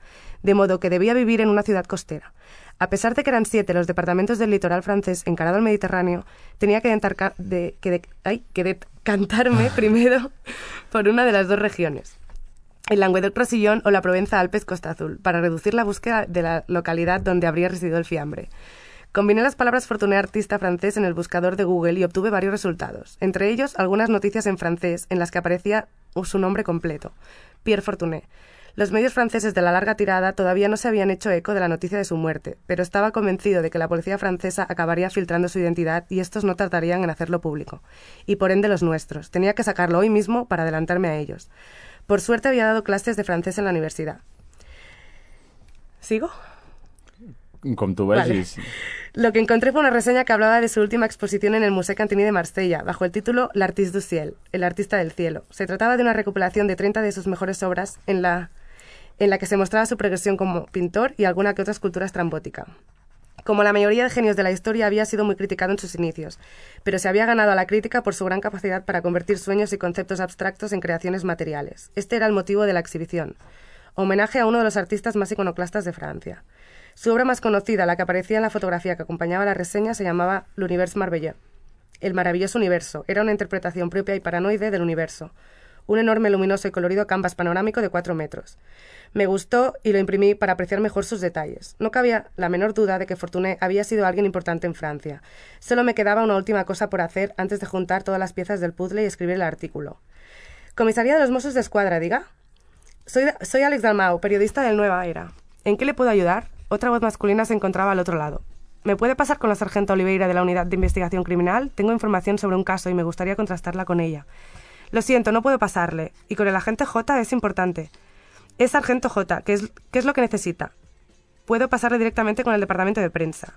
De modo que debía vivir en una ciudad costera. A pesar de que eran siete los departamentos del litoral francés encarado al Mediterráneo, tenía que, entarca- de- que de- ay, que decantarme primero por una de las dos regiones el Languedoc-Rosillón o la Provenza Alpes-Costa Azul, para reducir la búsqueda de la localidad donde habría residido el fiambre. Combiné las palabras Fortuné artista francés en el buscador de Google y obtuve varios resultados, entre ellos algunas noticias en francés en las que aparecía su nombre completo, Pierre Fortuné. Los medios franceses de la larga tirada todavía no se habían hecho eco de la noticia de su muerte, pero estaba convencido de que la policía francesa acabaría filtrando su identidad y estos no tardarían en hacerlo público, y por ende los nuestros. Tenía que sacarlo hoy mismo para adelantarme a ellos. Por suerte había dado clases de francés en la universidad. ¿Sigo? Com tu vegis. Lo que encontré fue una reseña que hablaba de su última exposición en el Museo Cantini de Marsella, bajo el título L'Artiste du Ciel, el artista del cielo. Se trataba de una recopilación de 30 de sus mejores obras en la, en la que se mostraba su progresión como pintor y alguna que otra escultura estrambótica. Como la mayoría de genios de la historia, había sido muy criticado en sus inicios, pero se había ganado a la crítica por su gran capacidad para convertir sueños y conceptos abstractos en creaciones materiales. Este era el motivo de la exhibición. Homenaje a uno de los artistas más iconoclastas de Francia. Su obra más conocida, la que aparecía en la fotografía que acompañaba la reseña, se llamaba L'Univers Marvelleux. El maravilloso universo era una interpretación propia y paranoide del universo. Un enorme, luminoso y colorido canvas panorámico de cuatro metros. Me gustó y lo imprimí para apreciar mejor sus detalles. No cabía la menor duda de que Fortuné había sido alguien importante en Francia. Solo me quedaba una última cosa por hacer antes de juntar todas las piezas del puzzle y escribir el artículo. Comisaría de los Mossos de Escuadra, diga. Soy, soy Alex Dalmau, periodista del Nueva Era. ¿En qué le puedo ayudar? Otra voz masculina se encontraba al otro lado. ¿Me puede pasar con la sargento Oliveira de la Unidad de Investigación Criminal? Tengo información sobre un caso y me gustaría contrastarla con ella. Lo siento, no puedo pasarle. Y con el agente J es importante. Es sargento J, ¿qué es, qué es lo que necesita? Puedo pasarle directamente con el departamento de prensa.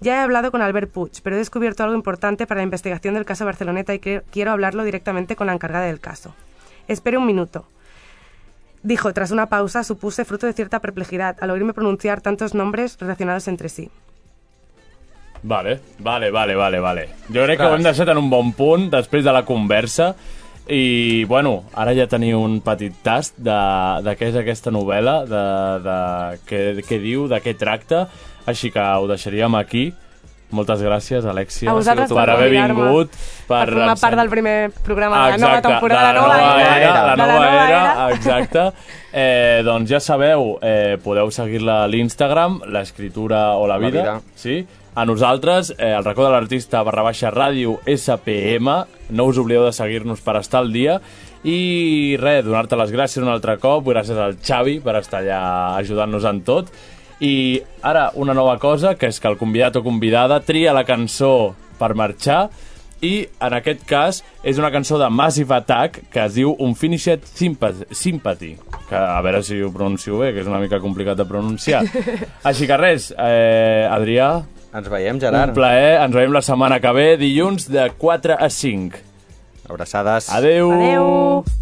Ya he hablado con Albert Puig, pero he descubierto algo importante para la investigación del caso Barceloneta y que- quiero hablarlo directamente con la encargada del caso. Espere un minuto. Dijo, tras una pausa, supuse fruto de cierta perplejidad al oírme pronunciar tantos nombres relacionados entre sí. Vale, vale, vale, vale, vale. Jo crec que Clar. ho hem deixat en un bon punt després de la conversa i, bueno, ara ja teniu un petit tast de, de què és aquesta novel·la, de, de què, què diu, de què tracta, així que ho deixaríem aquí. Moltes gràcies, Alexia, A vosaltres per per haver convidar-me, vingut. per formar part del primer programa de la nova Exacte, de temporada, la nova, era, la de nova, era, exacte. Eh, doncs ja sabeu, eh, podeu seguir-la a l'Instagram, l'escritura o la La vida, vida. sí? A nosaltres, eh, el racó de l'artista barra baixa ràdio SPM, no us oblideu de seguir-nos per estar al dia, i res, donar-te les gràcies un altre cop, gràcies al Xavi per estar allà ajudant-nos en tot, i ara una nova cosa, que és que el convidat o convidada tria la cançó per marxar, i en aquest cas és una cançó de Massive Attack que es diu Unfinished Sympa- Sympathy que a veure si ho pronuncio bé que és una mica complicat de pronunciar així que res, eh, Adrià Ens veiem, un Gerard. plaer, ens veiem la setmana que ve dilluns de 4 a 5 Abraçades. adeu, Adeu!